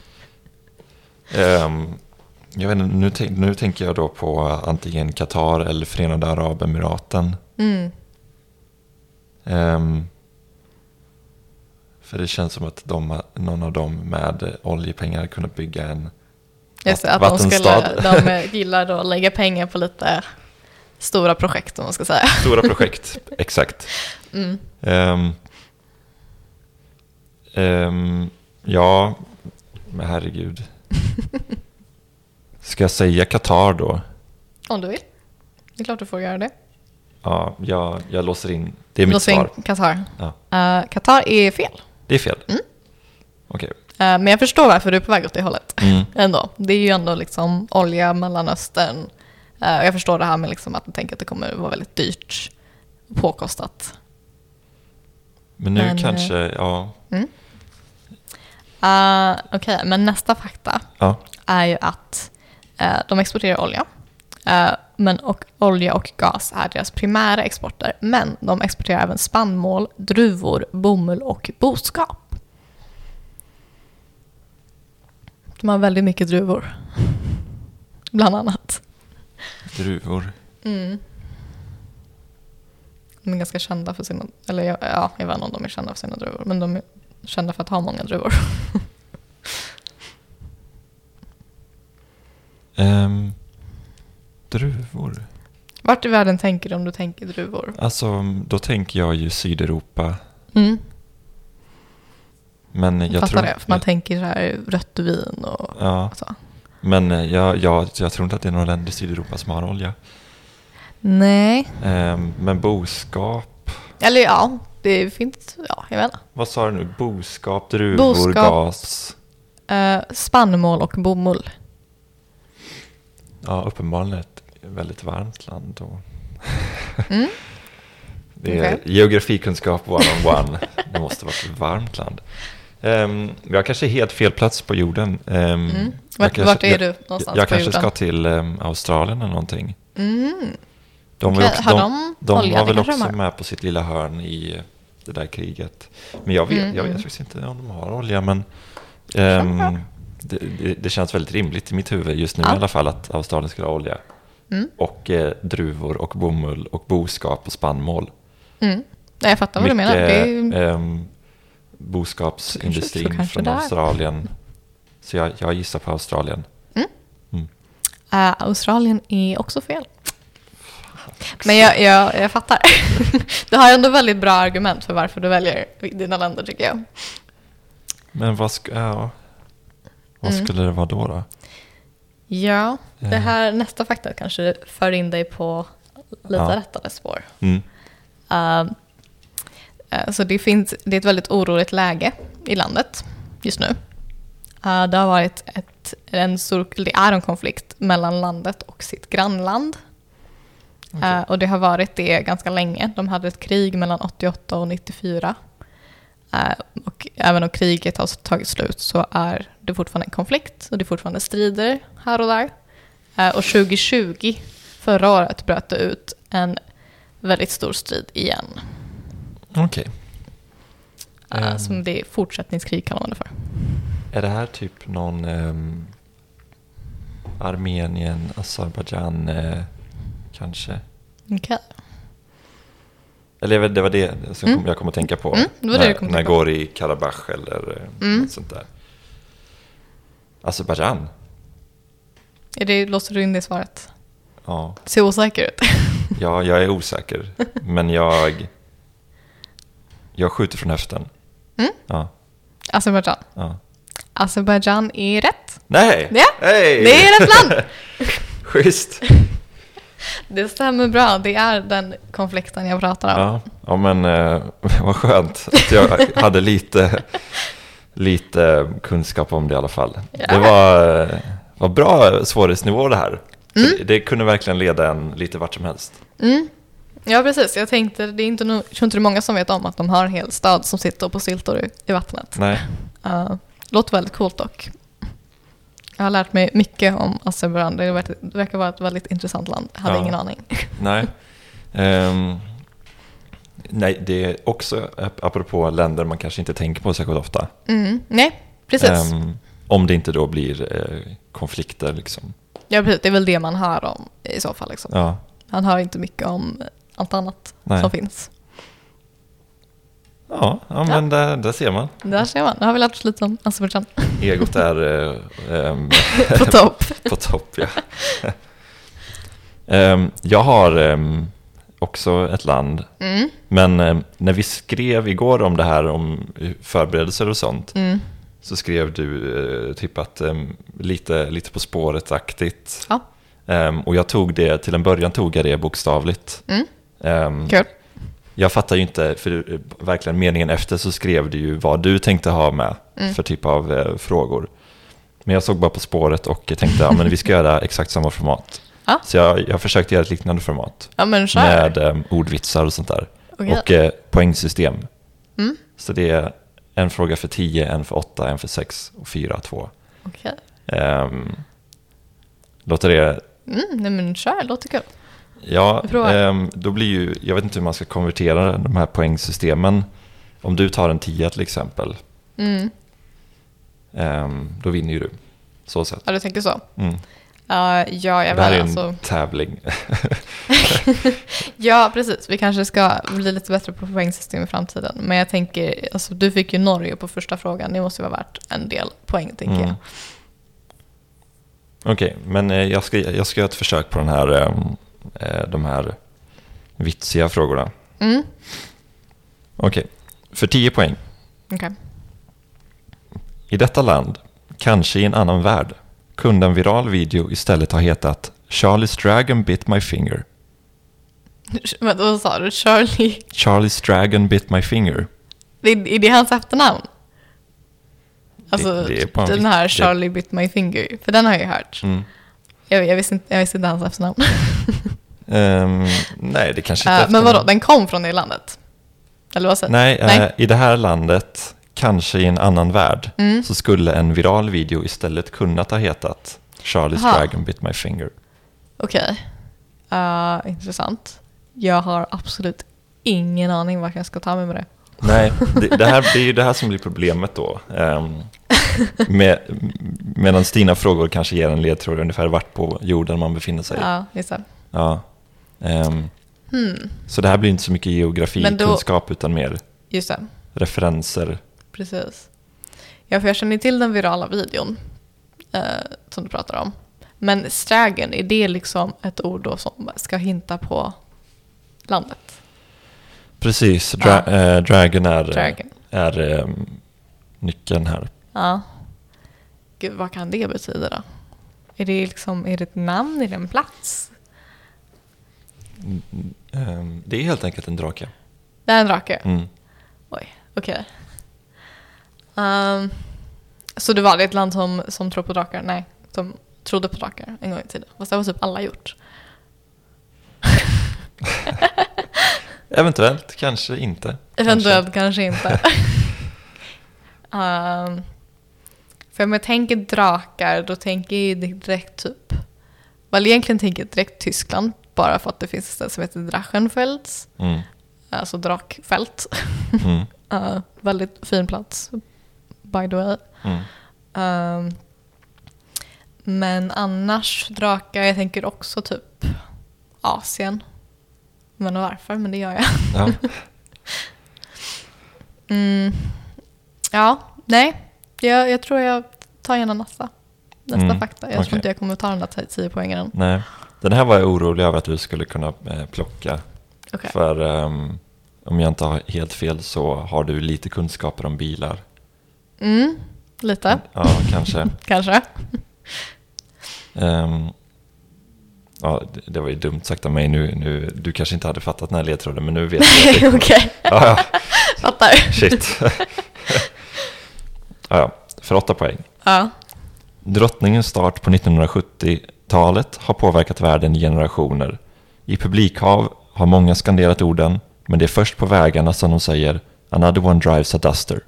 Speaker 2: Ehm, jag vet inte, nu, tänk- nu tänker jag då på antingen Qatar eller Förenade Arabemiraten.
Speaker 1: Mm.
Speaker 2: Ehm, för det känns som att de, någon av dem med oljepengar kunde bygga en...
Speaker 1: Just det, att de,
Speaker 2: Vattenstad.
Speaker 1: skulle, de eh, gillar att lägga pengar på lite stora projekt om man ska säga.
Speaker 2: Stora projekt, exakt.
Speaker 1: Mm.
Speaker 2: Ehm, ehm, ja, men herregud. Ska jag säga Qatar då?
Speaker 1: Om du vill. Det är klart du får göra det.
Speaker 2: Ja, jag, jag låser in. Det är mitt
Speaker 1: Låt in
Speaker 2: svar.
Speaker 1: Qatar.
Speaker 2: Ja.
Speaker 1: Eh, Qatar är fel.
Speaker 2: Det är fel.
Speaker 1: Mm.
Speaker 2: Okej.
Speaker 1: Eh, men jag förstår varför du är på väg åt det hållet.
Speaker 2: Mm.
Speaker 1: Ändå. Det är ju ändå liksom olja, Mellanöstern. Eh, och jag förstår det här med liksom att jag tänker att det kommer vara väldigt dyrt. Påkostat.
Speaker 2: Men nu
Speaker 1: Men, eh,
Speaker 2: kanske, ja.
Speaker 1: Uh, Okej, men nästa fakta
Speaker 2: ja.
Speaker 1: är ju att eh, de exporterar olja. Eh, men och, olja och gas är deras primära exporter. Men de exporterar även spannmål, druvor, bomull och boskap. De har väldigt mycket druvor. Bland annat.
Speaker 2: Druvor.
Speaker 1: Mm. De är ganska kända för sina, eller ja, ja, jag vet inte om de är kända för sina druvor, men de är kända för att ha många druvor.
Speaker 2: Ehm, druvor.
Speaker 1: Vart i världen tänker du om du tänker druvor?
Speaker 2: Alltså, då tänker jag ju Sydeuropa.
Speaker 1: Mm.
Speaker 2: Men
Speaker 1: Jag
Speaker 2: jag
Speaker 1: fattar
Speaker 2: tror...
Speaker 1: det, för man tänker så här rött vin och
Speaker 2: Ja,
Speaker 1: så.
Speaker 2: men eh, jag, jag, jag tror inte att det är några länder i Sydeuropa som har olja.
Speaker 1: Nej.
Speaker 2: Ehm, men boskap.
Speaker 1: Eller ja, det finns, ja, jag vet inte.
Speaker 2: Vad sa du nu? Boskap, druvor,
Speaker 1: Boskap.
Speaker 2: gas.
Speaker 1: Eh, spannmål och bomull.
Speaker 2: Ja, uppenbarligen ett väldigt varmt land. Och...
Speaker 1: Mm.
Speaker 2: Det är geografikunskap one-on-one. Det måste vara ett varmt land. Ehm, jag kanske är helt fel plats på jorden. Ehm,
Speaker 1: Mm.
Speaker 2: jag
Speaker 1: Vart,
Speaker 2: kanske-
Speaker 1: vart är
Speaker 2: jag-
Speaker 1: du någonstans
Speaker 2: Jag
Speaker 1: på
Speaker 2: kanske
Speaker 1: jorden?
Speaker 2: ska till ehm, Australien eller någonting.
Speaker 1: Mm.
Speaker 2: De var, ju
Speaker 1: Okej,
Speaker 2: också,
Speaker 1: har
Speaker 2: de,
Speaker 1: de,
Speaker 2: de
Speaker 1: olja?
Speaker 2: var
Speaker 1: Det
Speaker 2: väl
Speaker 1: kanske de
Speaker 2: också
Speaker 1: har.
Speaker 2: med på sitt lilla hörn i det där kriget. Men jag vet,
Speaker 1: Mm,
Speaker 2: jag vet
Speaker 1: mm.
Speaker 2: faktiskt inte om de har olja. Men
Speaker 1: Kanske de
Speaker 2: ehm,
Speaker 1: har.
Speaker 2: det, det, det känns väldigt rimligt i mitt huvud just nu
Speaker 1: Ja.
Speaker 2: i alla fall att Australien skulle ha olja.
Speaker 1: Mm.
Speaker 2: Och eh, druvor och bomull och boskap och spannmål.
Speaker 1: Mm. Nej, jag fattar vad du menar. Det är, ju-
Speaker 2: ehm,
Speaker 1: Så
Speaker 2: boskapsindustrin
Speaker 1: kanske
Speaker 2: från
Speaker 1: där.
Speaker 2: Australien. Så jag, jag gissar på Australien.
Speaker 1: eh, Australien är också fel. Men jag, jag, jag fattar. du har ändå väldigt bra argument för varför du väljer dina länder tycker jag.
Speaker 2: Men vad, sk- ja, vad
Speaker 1: Mm.
Speaker 2: skulle det vara då? då?
Speaker 1: Ja, det
Speaker 2: Eh.
Speaker 1: här nästa fakta kanske för in dig på lite
Speaker 2: Ja.
Speaker 1: rättare spår.
Speaker 2: Mm.
Speaker 1: Ehm, eh, så det, finns, det är ett väldigt oroligt läge i landet just nu. Eh, det har varit ett, en stor, det är en konflikt mellan landet och sitt grannland.
Speaker 2: Okej.
Speaker 1: Eh, och det har varit det ganska länge. De hade ett krig mellan 88 och 94. Eh, och även om kriget har tagit slut så är det fortfarande en konflikt och det är fortfarande strider här och där. Eh, och 2020, förra året, bröt det ut en väldigt stor strid igen.
Speaker 2: Okej.
Speaker 1: Eh,
Speaker 2: Ehm.
Speaker 1: Som det är fortsättningskrig kallar man det för.
Speaker 2: Är det här typ någon ehm, Armenien, Azerbajdzjan eh, kanske?
Speaker 1: Okej.
Speaker 2: Eller jag vet- det var det som
Speaker 1: Mm.
Speaker 2: kom, jag kom att tänka på.
Speaker 1: Mm, det var det
Speaker 2: när
Speaker 1: du kom att
Speaker 2: när jag
Speaker 1: tänka på.
Speaker 2: går i Karabach eller eh,
Speaker 1: Mm.
Speaker 2: något sånt där. Azerbajdzjan?
Speaker 1: Är det Låser du in det svaret?
Speaker 2: Ja.
Speaker 1: Ser osäker ut.
Speaker 2: ja, jag är osäker. men jag, jag skjuter från höften.
Speaker 1: Mm.
Speaker 2: Ja,
Speaker 1: Azerbajdzjan.
Speaker 2: ja.
Speaker 1: Azerbajdzjan är rätt.
Speaker 2: Nej!
Speaker 1: Ja,
Speaker 2: Hey!
Speaker 1: det är rätt land!
Speaker 2: Schysst!
Speaker 1: Det stämmer bra, det är den konflikten jag pratar om.
Speaker 2: Ja, ja men eh, vad skönt att jag hade lite, lite kunskap om det i alla fall.
Speaker 1: Ja.
Speaker 2: Det var, eh, var bra svårighetsnivå det här. Det, det kunde verkligen leda en lite vart som helst.
Speaker 1: Mm. Ja, precis. Jag tänkte, det är inte, no- jag tror inte det är många som vet om att de har en hel stad som sitter på syltor i, i vattnet.
Speaker 2: Nej,
Speaker 1: Uh, låter väldigt coolt dock. Jag har lärt mig mycket om Azerbajdzjan. Det verkar- det verkar vara ett väldigt intressant land. Jag hade
Speaker 2: Ja.
Speaker 1: ingen aning.
Speaker 2: nej. Ehm, nej, det är också ap- apropå länder man kanske inte tänker på särskilt ofta.
Speaker 1: Mm. Nej, precis.
Speaker 2: Ehm, om det inte då blir eh, konflikter liksom.
Speaker 1: ja, precis. Det är väl det man hör om i så fall. Liksom.
Speaker 2: Ja,
Speaker 1: Man hör inte mycket om allt annat
Speaker 2: nej.
Speaker 1: som finns.
Speaker 2: Ja, ja men Där, där ser man.
Speaker 1: Där ser man. Nu har vi lärt oss lite om Azerbajdzjan.
Speaker 2: Egot är eh, ehm,
Speaker 1: På topp.
Speaker 2: På topp, ja. Ehm, jag har ehm, också ett land.
Speaker 1: Mm.
Speaker 2: Men ehm, när vi skrev igår om det här om förberedelser och sånt
Speaker 1: Mm.
Speaker 2: så skrev du eh, typ att ehm, lite, lite på spåret-aktigt.
Speaker 1: Ja.
Speaker 2: Ehm, och jag tog det, till en början tog jag det bokstavligt.
Speaker 1: Mm.
Speaker 2: Ehm,
Speaker 1: Kul.
Speaker 2: jag fattar ju inte, för du- verkligen meningen efter så skrev du ju vad du tänkte ha med
Speaker 1: Mm.
Speaker 2: för typ av eh, frågor. Men jag såg bara på spåret och tänkte ja, men vi ska göra exakt samma format.
Speaker 1: Ja.
Speaker 2: Så jag, jag försökte göra ett liknande format
Speaker 1: Ja, men kör.
Speaker 2: med eh, ordvitsar och sånt där.
Speaker 1: Okej.
Speaker 2: Och eh, poängsystem.
Speaker 1: Mm.
Speaker 2: Så det är en fråga för 10, en för 8, en för 6 och 4, 2.
Speaker 1: Okej.
Speaker 2: Ehm, låter det
Speaker 1: Mm, nej men kör, låter kul.
Speaker 2: Ja,
Speaker 1: Jag provar.
Speaker 2: ehm, då blir ju, jag vet inte hur man ska konvertera de här poängsystemen. Om du tar en 10 till exempel,
Speaker 1: Mm.
Speaker 2: ehm, då vinner ju du. Så sett.
Speaker 1: Ja, du tänker så.
Speaker 2: Mm.
Speaker 1: Ja, ja, jag
Speaker 2: det här
Speaker 1: väl
Speaker 2: är en
Speaker 1: alltså.
Speaker 2: tävling.
Speaker 1: Ja, precis. Vi kanske ska bli lite bättre på poängsystem i framtiden. Men jag tänker, alltså, du fick ju Norge på första frågan. Det måste ju vara värt en del poäng, tänker
Speaker 2: Mm.
Speaker 1: jag.
Speaker 2: Okej, men eh, jag ska, jag ska göra ett försök på den här, ehm, eh, de här vitsiga frågorna.
Speaker 1: Mm,
Speaker 2: Okej, för 10 poäng.
Speaker 1: okej.
Speaker 2: I detta land, kanske i en annan värld, kunde en viral video istället ha hetat Charlie's Dragon bit my finger.
Speaker 1: Vänta, vad sa du? Charlie?
Speaker 2: Charlie's Dragon bit my finger.
Speaker 1: Det är, är det hans efternamn? Alltså,
Speaker 2: Det- det är på en
Speaker 1: den
Speaker 2: vikt-
Speaker 1: här
Speaker 2: det-
Speaker 1: Charlie bit my finger. För den har jag ju hört.
Speaker 2: Mm.
Speaker 1: Jag, jag, visste inte, jag visste inte hans efternamn.
Speaker 2: Ehm, nej, det kanske
Speaker 1: Eh,
Speaker 2: inte är
Speaker 1: men vadå,
Speaker 2: efternamn.
Speaker 1: den kom från det landet? Eller vad säger du?
Speaker 2: Nej,
Speaker 1: Nej.
Speaker 2: eh, i det här landet, kanske i en annan värld,
Speaker 1: Mm.
Speaker 2: så skulle en viral video istället kunnat ha hetat Charlie's
Speaker 1: Aha.
Speaker 2: Dragon bit my finger.
Speaker 1: Okej. Eh, intressant. Jag har absolut ingen aning vart jag ska ta mig med det.
Speaker 2: Nej, det, det, här, det är ju det här som blir problemet då. Um, med, medan dina frågor kanske ger en ledtråd ungefär vart på jorden man befinner sig.
Speaker 1: Ja, just det. Hmm,
Speaker 2: Ja. Ehm, Så det här blir inte så mycket
Speaker 1: Men då-
Speaker 2: geografikunskap utan mer
Speaker 1: Just det,
Speaker 2: referenser.
Speaker 1: precis. Ja, för jag känner till den virala videon eh, som du pratar om. Men strägen, är det liksom ett ord då som ska hinta på landet?
Speaker 2: Precis, dra, eh, dragon är,
Speaker 1: Dragon.
Speaker 2: är ehm, nyckeln här.
Speaker 1: Ja. Gud, vad kan det betyda då? Är det liksom, är det ett namn, är det en plats?
Speaker 2: Ehm, Mm, det är helt enkelt en drake.
Speaker 1: Det är en drake.
Speaker 2: Mm.
Speaker 1: Oj, okej. Ehm, så det var det ett land som, som tror på drakar? Nej, som trodde på drakar en gång i tiden. Fast det har typ alla gjort.
Speaker 2: Eventuellt, kanske inte.
Speaker 1: Eventuellt kanske inte. Ehm, för om jag tänker drakar, då tänker jag ju direkt typ... Väl egentligen tänker jag direkt Tyskland, bara för att det finns ett ställe som heter Drachenfels,
Speaker 2: Kanske. Mm.
Speaker 1: alltså drakfält.
Speaker 2: Mm.
Speaker 1: Eh, väldigt fin plats, by the way.
Speaker 2: Mm.
Speaker 1: Ehm, men annars drakar, jag tänker också typ Asien. Men varför, men det gör jag.
Speaker 2: Ja.
Speaker 1: Mm. Ja, nej. Jag, jag tror jag tar gärna nästa. Nästa
Speaker 2: Mm,
Speaker 1: fakta. Jag
Speaker 2: okej.
Speaker 1: tror inte jag kommer ta den där 10 poängen än.
Speaker 2: Nej. Den här var jag orolig över att du skulle kunna eh, plocka.
Speaker 1: Okej.
Speaker 2: För ehm, om jag inte har helt fel så har du lite kunskaper om bilar.
Speaker 1: Mm, lite,
Speaker 2: Ja, kanske.
Speaker 1: kanske.
Speaker 2: Ehm, ja, det- det var ju dumt sagt av mig. Nu, nu, du kanske inte hade fattat den här ledtråden, men nu vet jag. att
Speaker 1: Okej,
Speaker 2: det- ja,
Speaker 1: fattar.
Speaker 2: ja, shit. ja, ja, för åtta poäng.
Speaker 1: Ja.
Speaker 2: Drottningens start på 1970-talet har påverkat världen i generationer. I publikhav har många skanderat orden, men det är först på vägarna som de säger “Another one drives a duster”.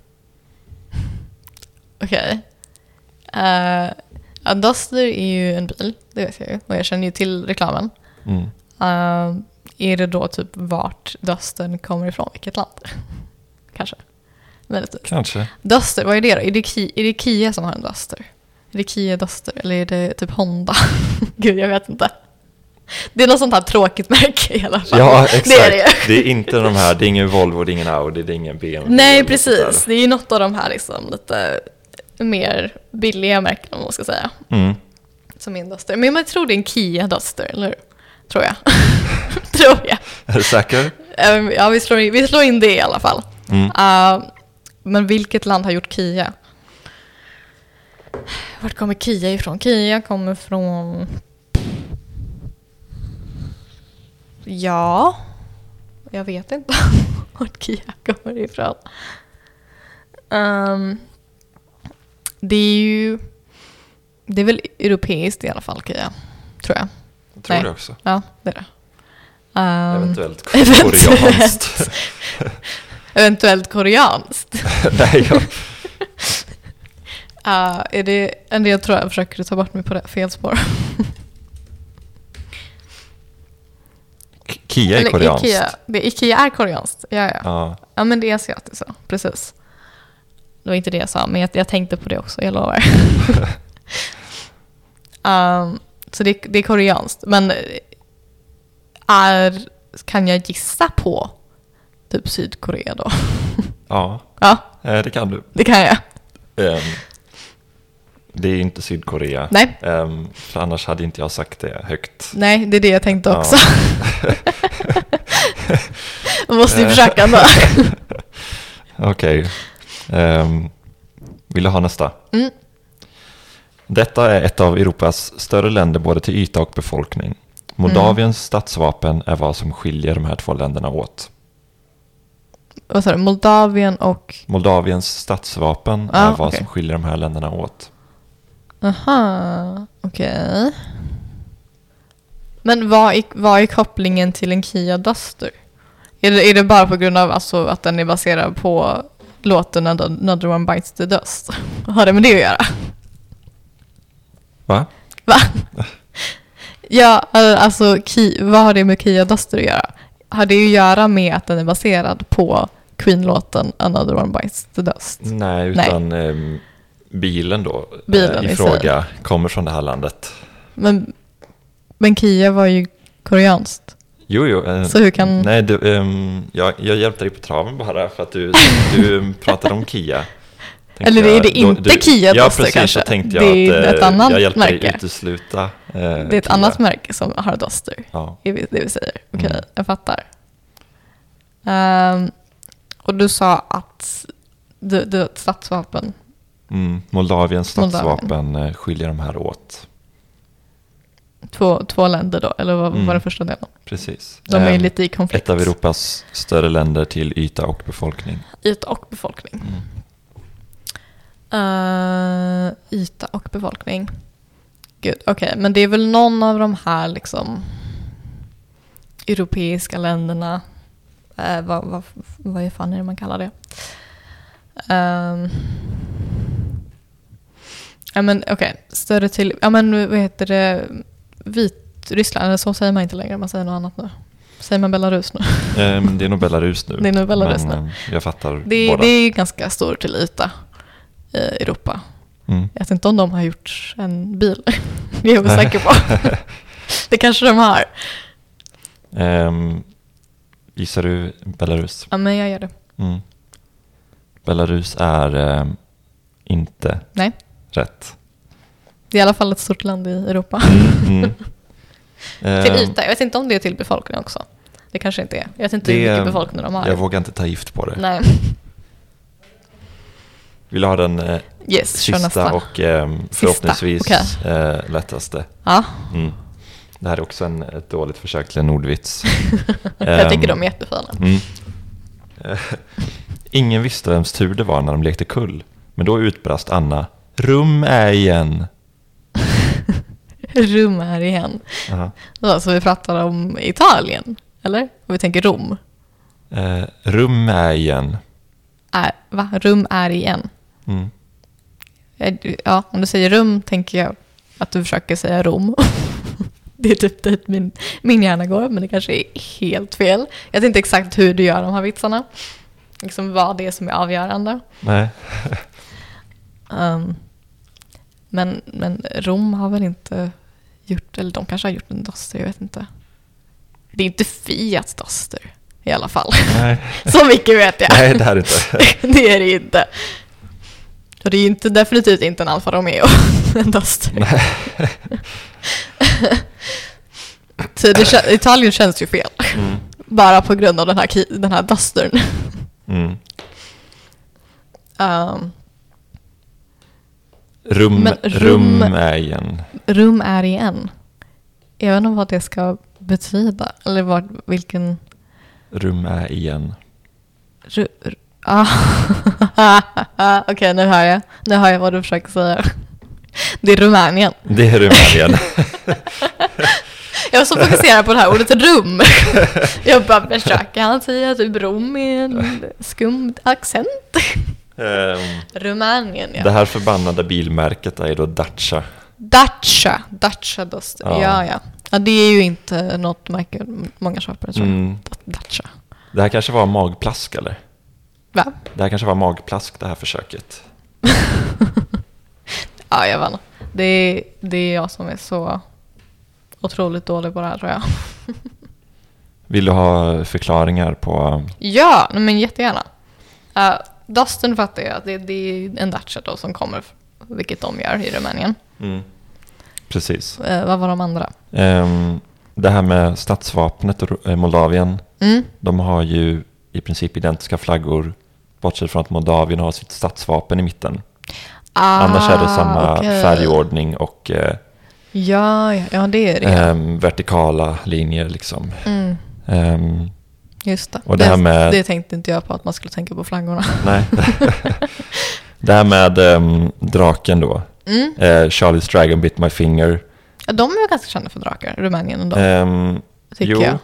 Speaker 1: Okej. Okay. Duster är ju en bil, det vet jag ju. Och jag känner ju till reklamen.
Speaker 2: Mm.
Speaker 1: Eh, är det då typ vart Dustern kommer ifrån? Vilket land? Kanske. Möjligtvis.
Speaker 2: Kanske.
Speaker 1: Duster, vad är det då? Är det, Ki- är det Kia som har en Duster? Är det Kia Duster eller är det typ Honda? Gud, jag vet inte. Det är något sånt här tråkigt märke i alla fall.
Speaker 2: Ja, exakt.
Speaker 1: Det är det ju.
Speaker 2: inte de här, det är ingen Volvo, det är ingen Audi, det är ingen BMW.
Speaker 1: Nej,
Speaker 2: eller något sånt där.
Speaker 1: precis. Det är ju något av de här liksom lite mer billiga märkena, om man ska säga,
Speaker 2: Mm.
Speaker 1: som är en Duster. Men jag tror det är en Kia Duster, eller hur? Tror jag. tror jag.
Speaker 2: Är du säker?
Speaker 1: Ehm, Ja, vi slår, in, vi slår in det i alla fall.
Speaker 2: Mm.
Speaker 1: Ehm, men vilket land har gjort Kia? Vart kommer Kia ifrån? Kia kommer från... Ja, jag vet inte vart Kia kommer ifrån. Ehm, det är ju... Det är väl europeiskt i alla fall, Kia. Tror jag.
Speaker 2: Jag tror
Speaker 1: Nej.
Speaker 2: det också.
Speaker 1: Ja, det är det. Ehm,
Speaker 2: Eventuellt
Speaker 1: eventuellt.
Speaker 2: koreanskt.
Speaker 1: Eventuellt koreanskt.
Speaker 2: Nej, jag,
Speaker 1: Uh, är det en del jag tror jag försöker ta bort mig på det fel spår.
Speaker 2: Kia är
Speaker 1: Eller
Speaker 2: koreanskt.
Speaker 1: Ikea, det, Ikea är koreanskt. Ja, ja.
Speaker 2: Ja.
Speaker 1: ja, men det är asiatiskt. så. Precis. Det var inte det jag sa, men jag, jag tänkte på det också, jag lovar. Ehm, så det, det är koreanskt. Men är, kan jag gissa på typ Sydkorea då?
Speaker 2: Ja,
Speaker 1: ja,
Speaker 2: eh, det kan du.
Speaker 1: det kan jag.
Speaker 2: Ehm, det är inte Sydkorea.
Speaker 1: Nej.
Speaker 2: Ehm, för annars hade inte jag sagt det högt.
Speaker 1: Nej, det är det jag tänkte
Speaker 2: Ja.
Speaker 1: också. Man måste ju försöka då.
Speaker 2: Okej. Ehm, vill du ha nästa?
Speaker 1: Mm.
Speaker 2: Detta är ett av Europas större länder både till yta och befolkning.
Speaker 1: Mm.
Speaker 2: Moldaviens statsvapen är vad som skiljer de här två länderna åt.
Speaker 1: Vad sa du? Moldavien och...
Speaker 2: Moldaviens statsvapen
Speaker 1: Ah,
Speaker 2: är vad
Speaker 1: okej.
Speaker 2: som skiljer de här länderna åt.
Speaker 1: Aha, okej. Men vad är, vad är kopplingen till en Kia Duster? Är det, är det bara på grund av alltså att den är baserad på låten Another Another One Bites the Dust? Vad har det med det att göra?
Speaker 2: Va?
Speaker 1: Va? Ja, eh, alltså ki, vad har det med Kia Duster att göra? Har det att göra med att den är baserad på Queen-låten Another One Bites the Dust?
Speaker 2: Nej,
Speaker 1: Nej.
Speaker 2: utan ehm, bilen då eh,
Speaker 1: Bilen
Speaker 2: i
Speaker 1: i sig.
Speaker 2: fråga kommer från det här landet.
Speaker 1: Men, men Kia var ju koreanskt.
Speaker 2: Jo, jo. eh,
Speaker 1: Så hur kan-
Speaker 2: Nej, du, ehm, jag, jag hjälpte dig på traven bara för att du, du ehm, pratade om Kia. Tänkte
Speaker 1: Eller är
Speaker 2: jag-
Speaker 1: det inte Kia
Speaker 2: Ja,
Speaker 1: Duster
Speaker 2: precis.
Speaker 1: kanske?
Speaker 2: Så tänkte
Speaker 1: Det
Speaker 2: jag
Speaker 1: är
Speaker 2: att eh,
Speaker 1: ett annat
Speaker 2: jag hjälpte dig
Speaker 1: märke.
Speaker 2: utesluta eh,
Speaker 1: Det är ett annat märke som har Duster.
Speaker 2: Ja.
Speaker 1: Det är det vi säger. Okej,
Speaker 2: Mm.
Speaker 1: jag fattar. Ehm, och du sa att du, du har ett stadsvapen.
Speaker 2: Mm, Moldaviens
Speaker 1: Moldavien.
Speaker 2: statsvapen eh, skiljer de här åt.
Speaker 1: Två, två länder då, eller vad
Speaker 2: Mm.
Speaker 1: var den första delen?
Speaker 2: Precis.
Speaker 1: De är ju
Speaker 2: Ehm,
Speaker 1: lite i konflikt.
Speaker 2: Ett av Europas större länder till yta och befolkning.
Speaker 1: Yta och befolkning.
Speaker 2: Mm.
Speaker 1: Eh, yta och befolkning. Gud, okej. Men det är väl någon av de här liksom europeiska länderna. Eh, vad, vad, vad är fan är det man kallar det? Ehm. ja men okej, större till, ja men vad heter det, Vitryssland, eller så säger man inte längre, man säger något annat nu. Säger man Belarus nu?
Speaker 2: Ehm, det är nog Belarus nu.
Speaker 1: Det är nog Belarus
Speaker 2: men,
Speaker 1: nu.
Speaker 2: ehm, Jag fattar
Speaker 1: Det,
Speaker 2: båda.
Speaker 1: det är ganska stor till yta i Europa.
Speaker 2: Mm.
Speaker 1: Jag vet inte om de har gjort en bil. Det är jag osäker på. Det kanske de har.
Speaker 2: Ehm, gissar du Belarus?
Speaker 1: Ja, men jag gör det.
Speaker 2: Mm. Belarus är ehm, inte
Speaker 1: Nej.
Speaker 2: rätt.
Speaker 1: Det är i alla fall ett stort land i Europa.
Speaker 2: Mm. Ehm,
Speaker 1: Till yta. Jag vet inte om det är till befolkning också. Det kanske inte är. Jag vet inte hur
Speaker 2: det-
Speaker 1: mycket befolkning de har.
Speaker 2: Jag vågar inte ta gift på det.
Speaker 1: Nej.
Speaker 2: Vill du ha den eh,
Speaker 1: Yes, kör
Speaker 2: sista
Speaker 1: nästa.
Speaker 2: och ehm, förhoppningsvis
Speaker 1: okej.
Speaker 2: eh, lättaste?
Speaker 1: Ja.
Speaker 2: Mm. Det här är också en, ett dåligt försök till en ordvits.
Speaker 1: Jag tycker
Speaker 2: Ehm,
Speaker 1: de är jättefina.
Speaker 2: Mm. Eh, Ingen visste vems tur det var när de lekte kull. Men då utbrast Anna Rum är igen.
Speaker 1: Rum här igen.
Speaker 2: Jaha.
Speaker 1: Det var så vi pratade om Italien. Eller? Och vi tänker Rom.
Speaker 2: Eh, rum är igen.
Speaker 1: Är, va? Rum är igen.
Speaker 2: Mm.
Speaker 1: Ja, om Eh, du säger rum tänker jag att du försöker säga rom. Det är typ dit min, min hjärna går, men det kanske är helt fel. Jag vet inte exakt hur du gör de här vitsarna. Liksom vad det är som är avgörande.
Speaker 2: Nej.
Speaker 1: Ehm, men, men Rom har väl inte gjort, eller de kanske har gjort en doster, jag vet inte. Det är inte Fiats doster i alla fall.
Speaker 2: Nej.
Speaker 1: Så mycket vet jag.
Speaker 2: Nej, det här är inte.
Speaker 1: det är det ju inte. Och det är ju inte, definitivt inte en Alfa Romeo, en Duster.
Speaker 2: Nej.
Speaker 1: Så det, kän- Italien känns ju fel. Bara på grund av den här, ki- den här dustern.
Speaker 2: Mm.
Speaker 1: Ehm,
Speaker 2: Rum,
Speaker 1: Men
Speaker 2: rum...
Speaker 1: rum-
Speaker 2: är igen.
Speaker 1: rum är igen. Jag vet inte vad det ska betyda. Eller vad, vilken...
Speaker 2: Rum är igen.
Speaker 1: Ru, ru- ah. Okej, nu hör jag. Nu hör jag vad du försöker säga. Det är Rumänien.
Speaker 2: Det är rum är igen.
Speaker 1: Jag var så fokuserad på det här ordet rum. Jag bara, försöker han säga typ Rom med en skum accent?
Speaker 2: Ehm,
Speaker 1: Rumänien, ja.
Speaker 2: Det här förbannade bilmärket är ju då Dacia.
Speaker 1: Dacia, Dacia Duster.
Speaker 2: Ja.
Speaker 1: Ja. Ja, ja. det är ju inte något märke många köper, tror jag.
Speaker 2: Mm.
Speaker 1: Da- Dacia.
Speaker 2: Det här kanske var magplask eller?
Speaker 1: Va?
Speaker 2: Det här kanske var magplask det här försöket.
Speaker 1: Ja, jag vann. Det är, det är jag som är så otroligt dålig på det här tror jag.
Speaker 2: Vill du ha förklaringar på...
Speaker 1: Ja, nej, men jättegärna. Uh, Dustin fattar ju att det, det är en dacia då som kommer, vilket de gör i Rumänien.
Speaker 2: Precis.
Speaker 1: Eh, vad var de andra?
Speaker 2: Ehm, det här med statsvapnet och eh, Moldavien.
Speaker 1: Mm.
Speaker 2: De har ju i princip identiska flaggor. Bortsett från att Moldavien har sitt statsvapen i mitten. Annars är det samma
Speaker 1: Ah, okej.
Speaker 2: färgordning och eh,
Speaker 1: Ja, ja, ja, det är det.
Speaker 2: ehm, vertikala linjer liksom.
Speaker 1: Mm,
Speaker 2: Ehm,
Speaker 1: just det.
Speaker 2: och det här med-
Speaker 1: det tänkte inte jag på att man skulle tänka på flaggorna.
Speaker 2: nej. det här med ehm, draken då.
Speaker 1: Mm.
Speaker 2: Eh, Charlie's Dragon bit my finger.
Speaker 1: Ja, De är ju ganska kända för drakar, Rumänien ändå,
Speaker 2: Ehm,
Speaker 1: tycker jag.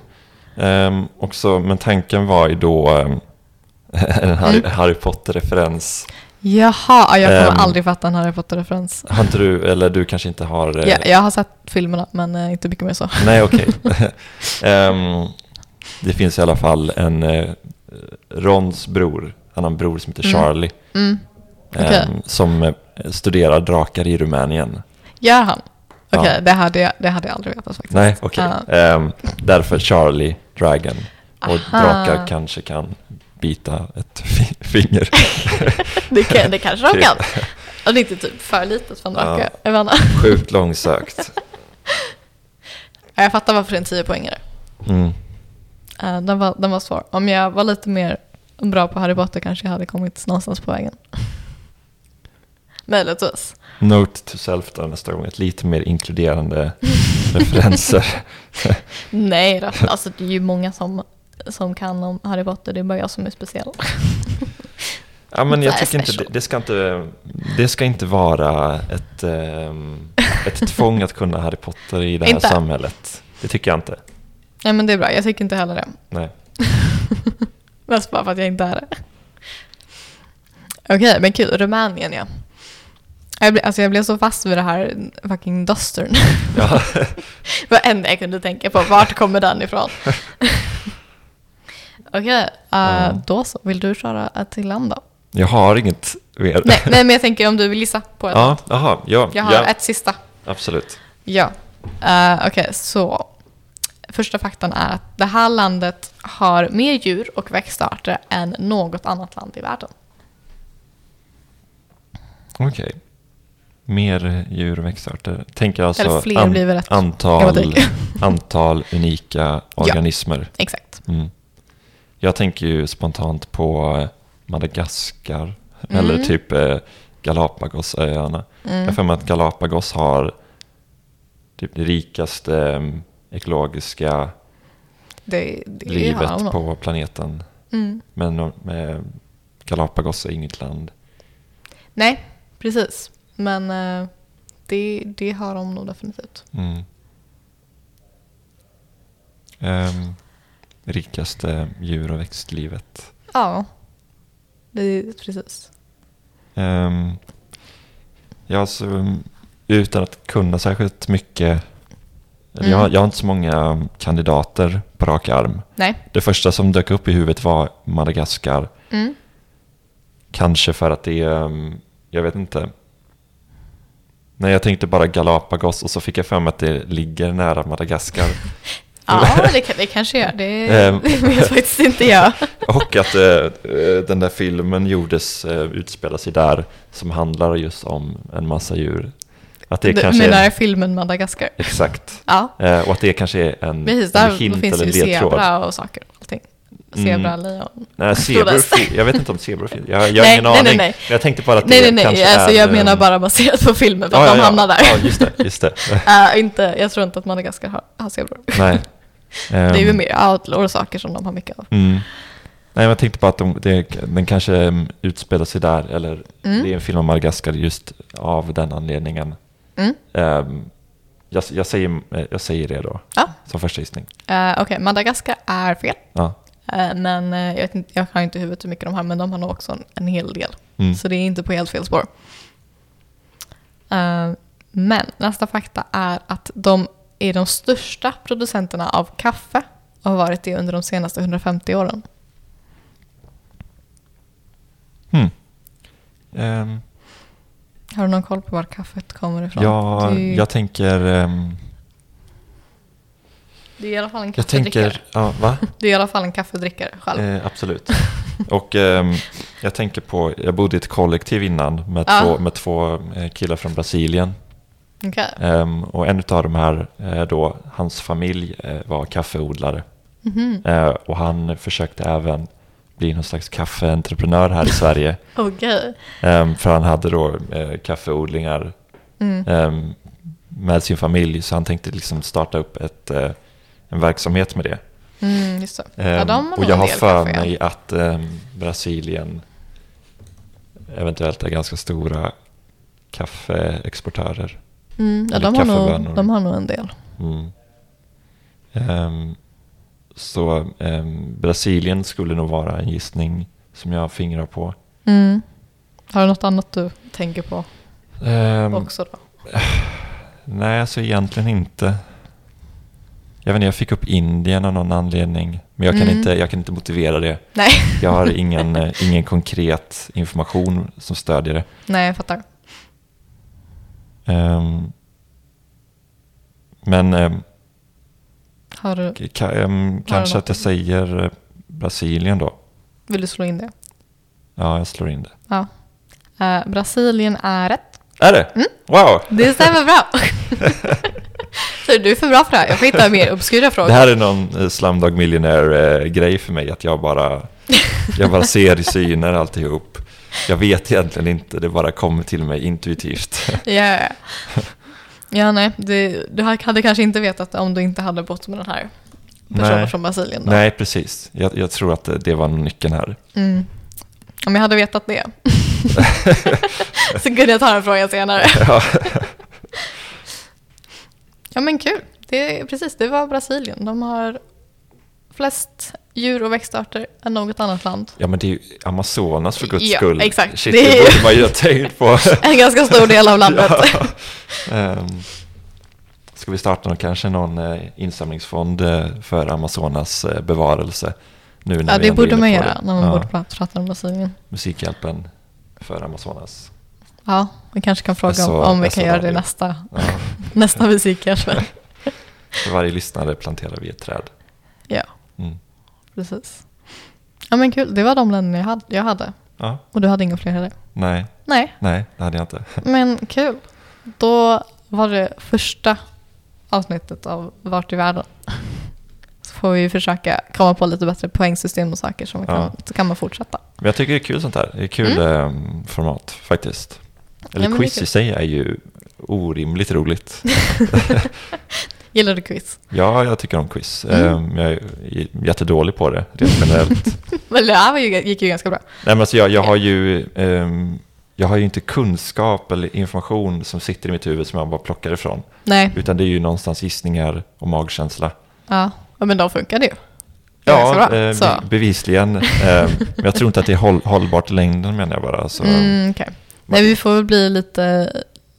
Speaker 2: Ehm, också, men tanken var ju då ehm, en Harry,
Speaker 1: Mm.
Speaker 2: Harry Potter-referens.
Speaker 1: Jaha, ja, jag kommer
Speaker 2: Ehm.
Speaker 1: aldrig fatta en Harry Potter-referens.
Speaker 2: Har inte du, eller du kanske inte har... eh,
Speaker 1: Ja, jag har sett filmerna, men eh, inte mycket mer så.
Speaker 2: Nej, okej. Ehm, det finns i alla fall en eh, Rons bror, han har en bror som heter
Speaker 1: Mm.
Speaker 2: Charlie,
Speaker 1: Mm.
Speaker 2: ehm,
Speaker 1: okej.
Speaker 2: som eh, studerar drakar i Rumänien.
Speaker 1: Gör han? Okej,
Speaker 2: Ja.
Speaker 1: det, hade jag, det hade jag aldrig vetat faktiskt.
Speaker 2: Nej, okej.
Speaker 1: Ja.
Speaker 2: Ehm, därför Charlie Dragon. Och
Speaker 1: Aha.
Speaker 2: drakar kanske kan bita ett fi- finger.
Speaker 1: Det, kan, det kanske de
Speaker 2: Kul.
Speaker 1: kan. Och det är inte typ för litet för en drake.
Speaker 2: Ja.
Speaker 1: Jag, vet inte.
Speaker 2: Sjukt långsökt.
Speaker 1: Ja, jag fattar varför det är en 10 poängare.
Speaker 2: Mm.
Speaker 1: Eh, den, var, den var svår. Om jag var lite mer bra på Harry Potter kanske jag hade kommit någonstans på vägen. Möjligtvis.
Speaker 2: Note to self där nästa gång, ett lite mer inkluderande referenser.
Speaker 1: Nej då. Alltså det är ju många som, som kan om Harry Potter. Det är bara jag som är speciell.
Speaker 2: Ja, men
Speaker 1: Det
Speaker 2: jag
Speaker 1: är
Speaker 2: tycker inte, det,
Speaker 1: special.
Speaker 2: det, ska inte, det ska inte vara ett, ehm, ett tvång att kunna Harry Potter i det här
Speaker 1: Inte.
Speaker 2: samhället. Det tycker jag inte.
Speaker 1: Nej men det är bra. Jag tycker inte heller det.
Speaker 2: Nej.
Speaker 1: Mest bara för att jag inte är det. Okej, men kul. Rumänien ja. Jag blev, alltså jag blev så fast vid det här fucking dustern.
Speaker 2: Ja.
Speaker 1: Det var det enda jag kunde tänka på. Vart kommer den ifrån? Okej, eh,
Speaker 2: Ja.
Speaker 1: då så. Vill du köra ett till land då?
Speaker 2: Jag har inget mer.
Speaker 1: Nej, nej, men jag tänker om du vill gissa på det.
Speaker 2: Ja, aha, ja,
Speaker 1: Jag har
Speaker 2: ja
Speaker 1: ett sista.
Speaker 2: absolut.
Speaker 1: Ja. Eh, Okej, så. Första faktan är att det här landet har mer djur och växtarter än något annat land i världen.
Speaker 2: Okej. Mer djur och växtarter. Tänker alltså
Speaker 1: Eller fler blir väl rätt. Jag bara
Speaker 2: antal,
Speaker 1: tänker.
Speaker 2: antal unika organismer.
Speaker 1: Exakt.
Speaker 2: Mm. Jag tänker ju spontant på eh, Madagaskar
Speaker 1: Mm.
Speaker 2: eller typ eh, Galapagosöarna. Jag har för mig att Galapagos har typ det rikaste eh, ekologiska
Speaker 1: Det, det
Speaker 2: livet
Speaker 1: har de nog.
Speaker 2: på planeten.
Speaker 1: Mm.
Speaker 2: Men eh, Galapagos är inget land.
Speaker 1: Nej, precis. Men eh, det, det har de nog definitivt.
Speaker 2: Mm. Ehm, rikaste djur och växtlivet.
Speaker 1: Ja, det är precis.
Speaker 2: Ehm, ja, alltså, mm, utan att kunna särskilt mycket. eller
Speaker 1: Mm.
Speaker 2: Jag, jag har inte så många kandidater på rak arm.
Speaker 1: Nej.
Speaker 2: Det första som dök upp i huvudet var Madagaskar.
Speaker 1: Mm.
Speaker 2: Kanske för att det är, mm, jag vet inte. Nej, jag tänkte bara Galapagos och så fick jag för mig att det ligger nära Madagaskar.
Speaker 1: Ja, det, kan- det kanske gör. Det,
Speaker 2: Ehm.
Speaker 1: det vet faktiskt inte jag.
Speaker 2: Och att eh, eh, den där filmen gjordes, eh, utspelar sig där, som handlar just om en massa djur. Att det
Speaker 1: Du
Speaker 2: kanske
Speaker 1: menar
Speaker 2: är,
Speaker 1: filmen Madagaskar?
Speaker 2: exakt.
Speaker 1: Ja,
Speaker 2: Eh, och att det kanske är en,
Speaker 1: precis.
Speaker 2: en
Speaker 1: Där
Speaker 2: hint
Speaker 1: finns
Speaker 2: eller
Speaker 1: ju
Speaker 2: en ledtråd.
Speaker 1: zebra och saker. och Allting.
Speaker 2: Mm.
Speaker 1: Zebra, lejon.
Speaker 2: Nej, zebror,
Speaker 1: Stod
Speaker 2: fin- jag vet inte om zebror finns. Jag, jag har
Speaker 1: Nej,
Speaker 2: ingen
Speaker 1: nej, nej,
Speaker 2: aning.
Speaker 1: nej.
Speaker 2: Men Jag tänkte bara att
Speaker 1: Nej,
Speaker 2: det
Speaker 1: nej, nej.
Speaker 2: kanske
Speaker 1: Alltså,
Speaker 2: är...
Speaker 1: jag
Speaker 2: eh,
Speaker 1: menar bara baserat på filmen, för
Speaker 2: ja,
Speaker 1: att
Speaker 2: ja,
Speaker 1: de
Speaker 2: ja.
Speaker 1: hamnar där.
Speaker 2: Ja, just det. Just det.
Speaker 1: Eh, inte, jag tror inte att Madagaskar har, har zebror.
Speaker 2: nej.
Speaker 1: Det är ju
Speaker 2: Ehm,
Speaker 1: mer outlaw och saker som de har mycket av.
Speaker 2: Mm. Nej, men jag tänkte bara att de, det, den kanske mm, utspelar sig där, eller
Speaker 1: Mm.
Speaker 2: det är en film om Madagaskar just av den anledningen.
Speaker 1: Mm.
Speaker 2: Ehm, jag, jag, säger, eh, jag säger det då,
Speaker 1: Ja.
Speaker 2: som första gissning.
Speaker 1: Eh, Okej, Madagaskar är fel.
Speaker 2: Ja.
Speaker 1: Eh, men eh, jag, vet inte, jag har inte i huvudet hur mycket de har, men de har nog också en, en hel del.
Speaker 2: Mm.
Speaker 1: Så det är inte på helt fel spår. Eh, men nästa fakta är att de är de största producenterna av kaffe och har varit det under de senaste 150 åren.
Speaker 2: Hmm. Ehm,
Speaker 1: Har du någon koll på var kaffet kommer ifrån?
Speaker 2: Ja,
Speaker 1: du,
Speaker 2: jag tänker... ehm,
Speaker 1: du är i alla fall en
Speaker 2: jag
Speaker 1: kaffedrickare.
Speaker 2: tänker... Ja, va?
Speaker 1: Du är i alla fall en kaffedrickare själv.
Speaker 2: Eh, absolut. Och ehm, jag tänker på... Jag bodde i ett kollektiv innan med
Speaker 1: Ja.
Speaker 2: två, med två eh, killar från Brasilien.
Speaker 1: Okej.
Speaker 2: Ehm, och en av de här, eh, då, hans familj eh, var kaffeodlare.
Speaker 1: Mhm.
Speaker 2: Eh, och han försökte även bli någon slags kaffeentreprenör här i Sverige.
Speaker 1: Okej.
Speaker 2: Ehm, för han hade då eh, kaffeodlingar
Speaker 1: Mm.
Speaker 2: ehm, med sin familj. Så han tänkte liksom starta upp ett, eh, en verksamhet med det.
Speaker 1: Mm, just det. ja,
Speaker 2: Ehm,
Speaker 1: de har
Speaker 2: och
Speaker 1: nog
Speaker 2: jag
Speaker 1: en
Speaker 2: har
Speaker 1: del
Speaker 2: för
Speaker 1: kaffe, ja.
Speaker 2: mig att ehm, Brasilien eventuellt är ganska stora kaffeexportörer.
Speaker 1: Mm, ja,
Speaker 2: eller
Speaker 1: de, har nog,
Speaker 2: kaffebönor.
Speaker 1: de har nog en del.
Speaker 2: Mm. Ehm, så ehm, Brasilien skulle nog vara en gissning som jag fingrar på.
Speaker 1: Mm. Har du något annat du tänker på
Speaker 2: Ehm,
Speaker 1: också då?
Speaker 2: Nej, alltså egentligen inte. Jag vet inte, jag fick upp Indien av någon anledning. Men jag kan,
Speaker 1: Mm.
Speaker 2: inte, jag kan inte motivera det.
Speaker 1: Nej.
Speaker 2: Jag har ingen, eh, ingen konkret information som stödjer det.
Speaker 1: Nej, jag fattar.
Speaker 2: Ehm, men ehm,
Speaker 1: Har du,
Speaker 2: ka, ehm, kanske
Speaker 1: något?
Speaker 2: att jag säger eh, Brasilien då.
Speaker 1: vill du slå in det?
Speaker 2: Ja, jag slår in det.
Speaker 1: Ja. Eh, Brasilien är rätt.
Speaker 2: Är det? Wow!
Speaker 1: Det stämmer bra. Så du är för bra för det här. Jag får hitta mer obskyra frågor.
Speaker 2: Det här är någon eh, Slumdog Millionaire-grej för mig, att jag bara, jag bara ser i syner alltihop. Jag vet egentligen inte, det bara kommer till mig intuitivt.
Speaker 1: Ja, ja, ja. ja nej. Du, du hade kanske inte vetat om du inte hade bott med den här personen
Speaker 2: Nej.
Speaker 1: från Brasilien. Då.
Speaker 2: Nej, precis. Jag, jag tror att det- det var nyckeln här.
Speaker 1: Mm. Om jag hade vetat det så kunde jag ta den frågan senare.
Speaker 2: Ja.
Speaker 1: Ja men kul. Det, är- precis, det var Brasilien. De har flest djur och växtarter än något annat land.
Speaker 2: Ja, men det är ju Amazonas för guds
Speaker 1: Ja,
Speaker 2: skull.
Speaker 1: exakt.
Speaker 2: Shit,
Speaker 1: Det
Speaker 2: det,
Speaker 1: är ju-
Speaker 2: borde man ju ha tänkt på.
Speaker 1: En ganska stor del av landet.
Speaker 2: Ja. Ehm, Ska vi starta någon, kanske någon eh, insamlingsfond eh, för Amazonas eh, bevarelse? Nu när
Speaker 1: Ja,
Speaker 2: vi
Speaker 1: det
Speaker 2: ändå är
Speaker 1: borde
Speaker 2: inne
Speaker 1: man
Speaker 2: på
Speaker 1: göra
Speaker 2: det.
Speaker 1: när man
Speaker 2: Ja.
Speaker 1: borde pra- prata om Brasilien.
Speaker 2: Musikhjälpen för Amazonas.
Speaker 1: Ja, vi kanske kan fråga om,
Speaker 2: Så-
Speaker 1: om vi
Speaker 2: så
Speaker 1: kan göra det
Speaker 2: radio.
Speaker 1: nästa,
Speaker 2: Alltså, Ja.
Speaker 1: nästa musik kanske.
Speaker 2: För varje lyssnare planterar vi ett träd.
Speaker 1: Ja.
Speaker 2: Mm.
Speaker 1: Precis. Ja men kul, det var de länderna jag hade. Jag hade.
Speaker 2: Ja,
Speaker 1: Och du hade inga fler heller?
Speaker 2: nej,
Speaker 1: Nej,
Speaker 2: nej, det hade jag inte.
Speaker 1: men kul. Då var det första avsnittet av Vart i världen. Så får vi försöka komma på lite bättre poängsystem och saker som man kan,
Speaker 2: Ja.
Speaker 1: så kan man fortsätta.
Speaker 2: Men jag tycker det är kul sånt här. Det är kul ehm, format faktiskt. Eller
Speaker 1: Mm. men det är
Speaker 2: quiz
Speaker 1: kul.
Speaker 2: i sig är ju orimligt roligt.
Speaker 1: Gillar du quiz?
Speaker 2: Ja, jag tycker om quiz.
Speaker 1: Mm.
Speaker 2: Ehm, jag är j- jättedålig på det rent generellt.
Speaker 1: Men det här var ju, gick ju ganska bra.
Speaker 2: Nej, men alltså jag, jag har ju... ehm, jag har ju inte kunskap eller information som sitter i mitt huvud som jag bara plockar ifrån.
Speaker 1: Nej,
Speaker 2: Utan det är ju någonstans gissningar och magkänsla.
Speaker 1: ja. Ja, men de funkade ju. Ganska
Speaker 2: Ja,
Speaker 1: bra.
Speaker 2: eh,
Speaker 1: Så.
Speaker 2: be- bevisligen. Eh, men jag tror inte att det är håll, hållbart i längden menar jag bara. Så,
Speaker 1: Mm, okej. Nej, vi får väl bli lite,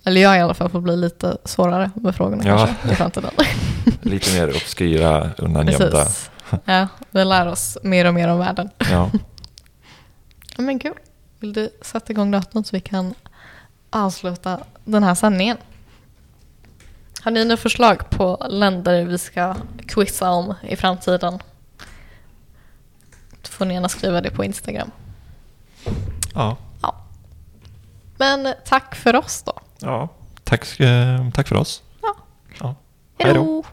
Speaker 1: eller jag i alla fall får bli lite svårare med frågorna
Speaker 2: Ja.
Speaker 1: kanske i framtiden.
Speaker 2: Lite mer obskyra, undangömda.
Speaker 1: Precis. Ja, vi lär oss mer och mer om världen.
Speaker 2: Ja.
Speaker 1: Ja, men kul. Vill du sätta igång datorn så vi kan avsluta den här sändningen? Har ni några förslag på länder vi ska quizza om i framtiden? Då får ni gärna skriva det på Instagram.
Speaker 2: Ja.
Speaker 1: Ja. Men tack för oss då.
Speaker 2: ja. Tack, eh, tack för oss.
Speaker 1: Ja.
Speaker 2: Ja.
Speaker 1: Hej då!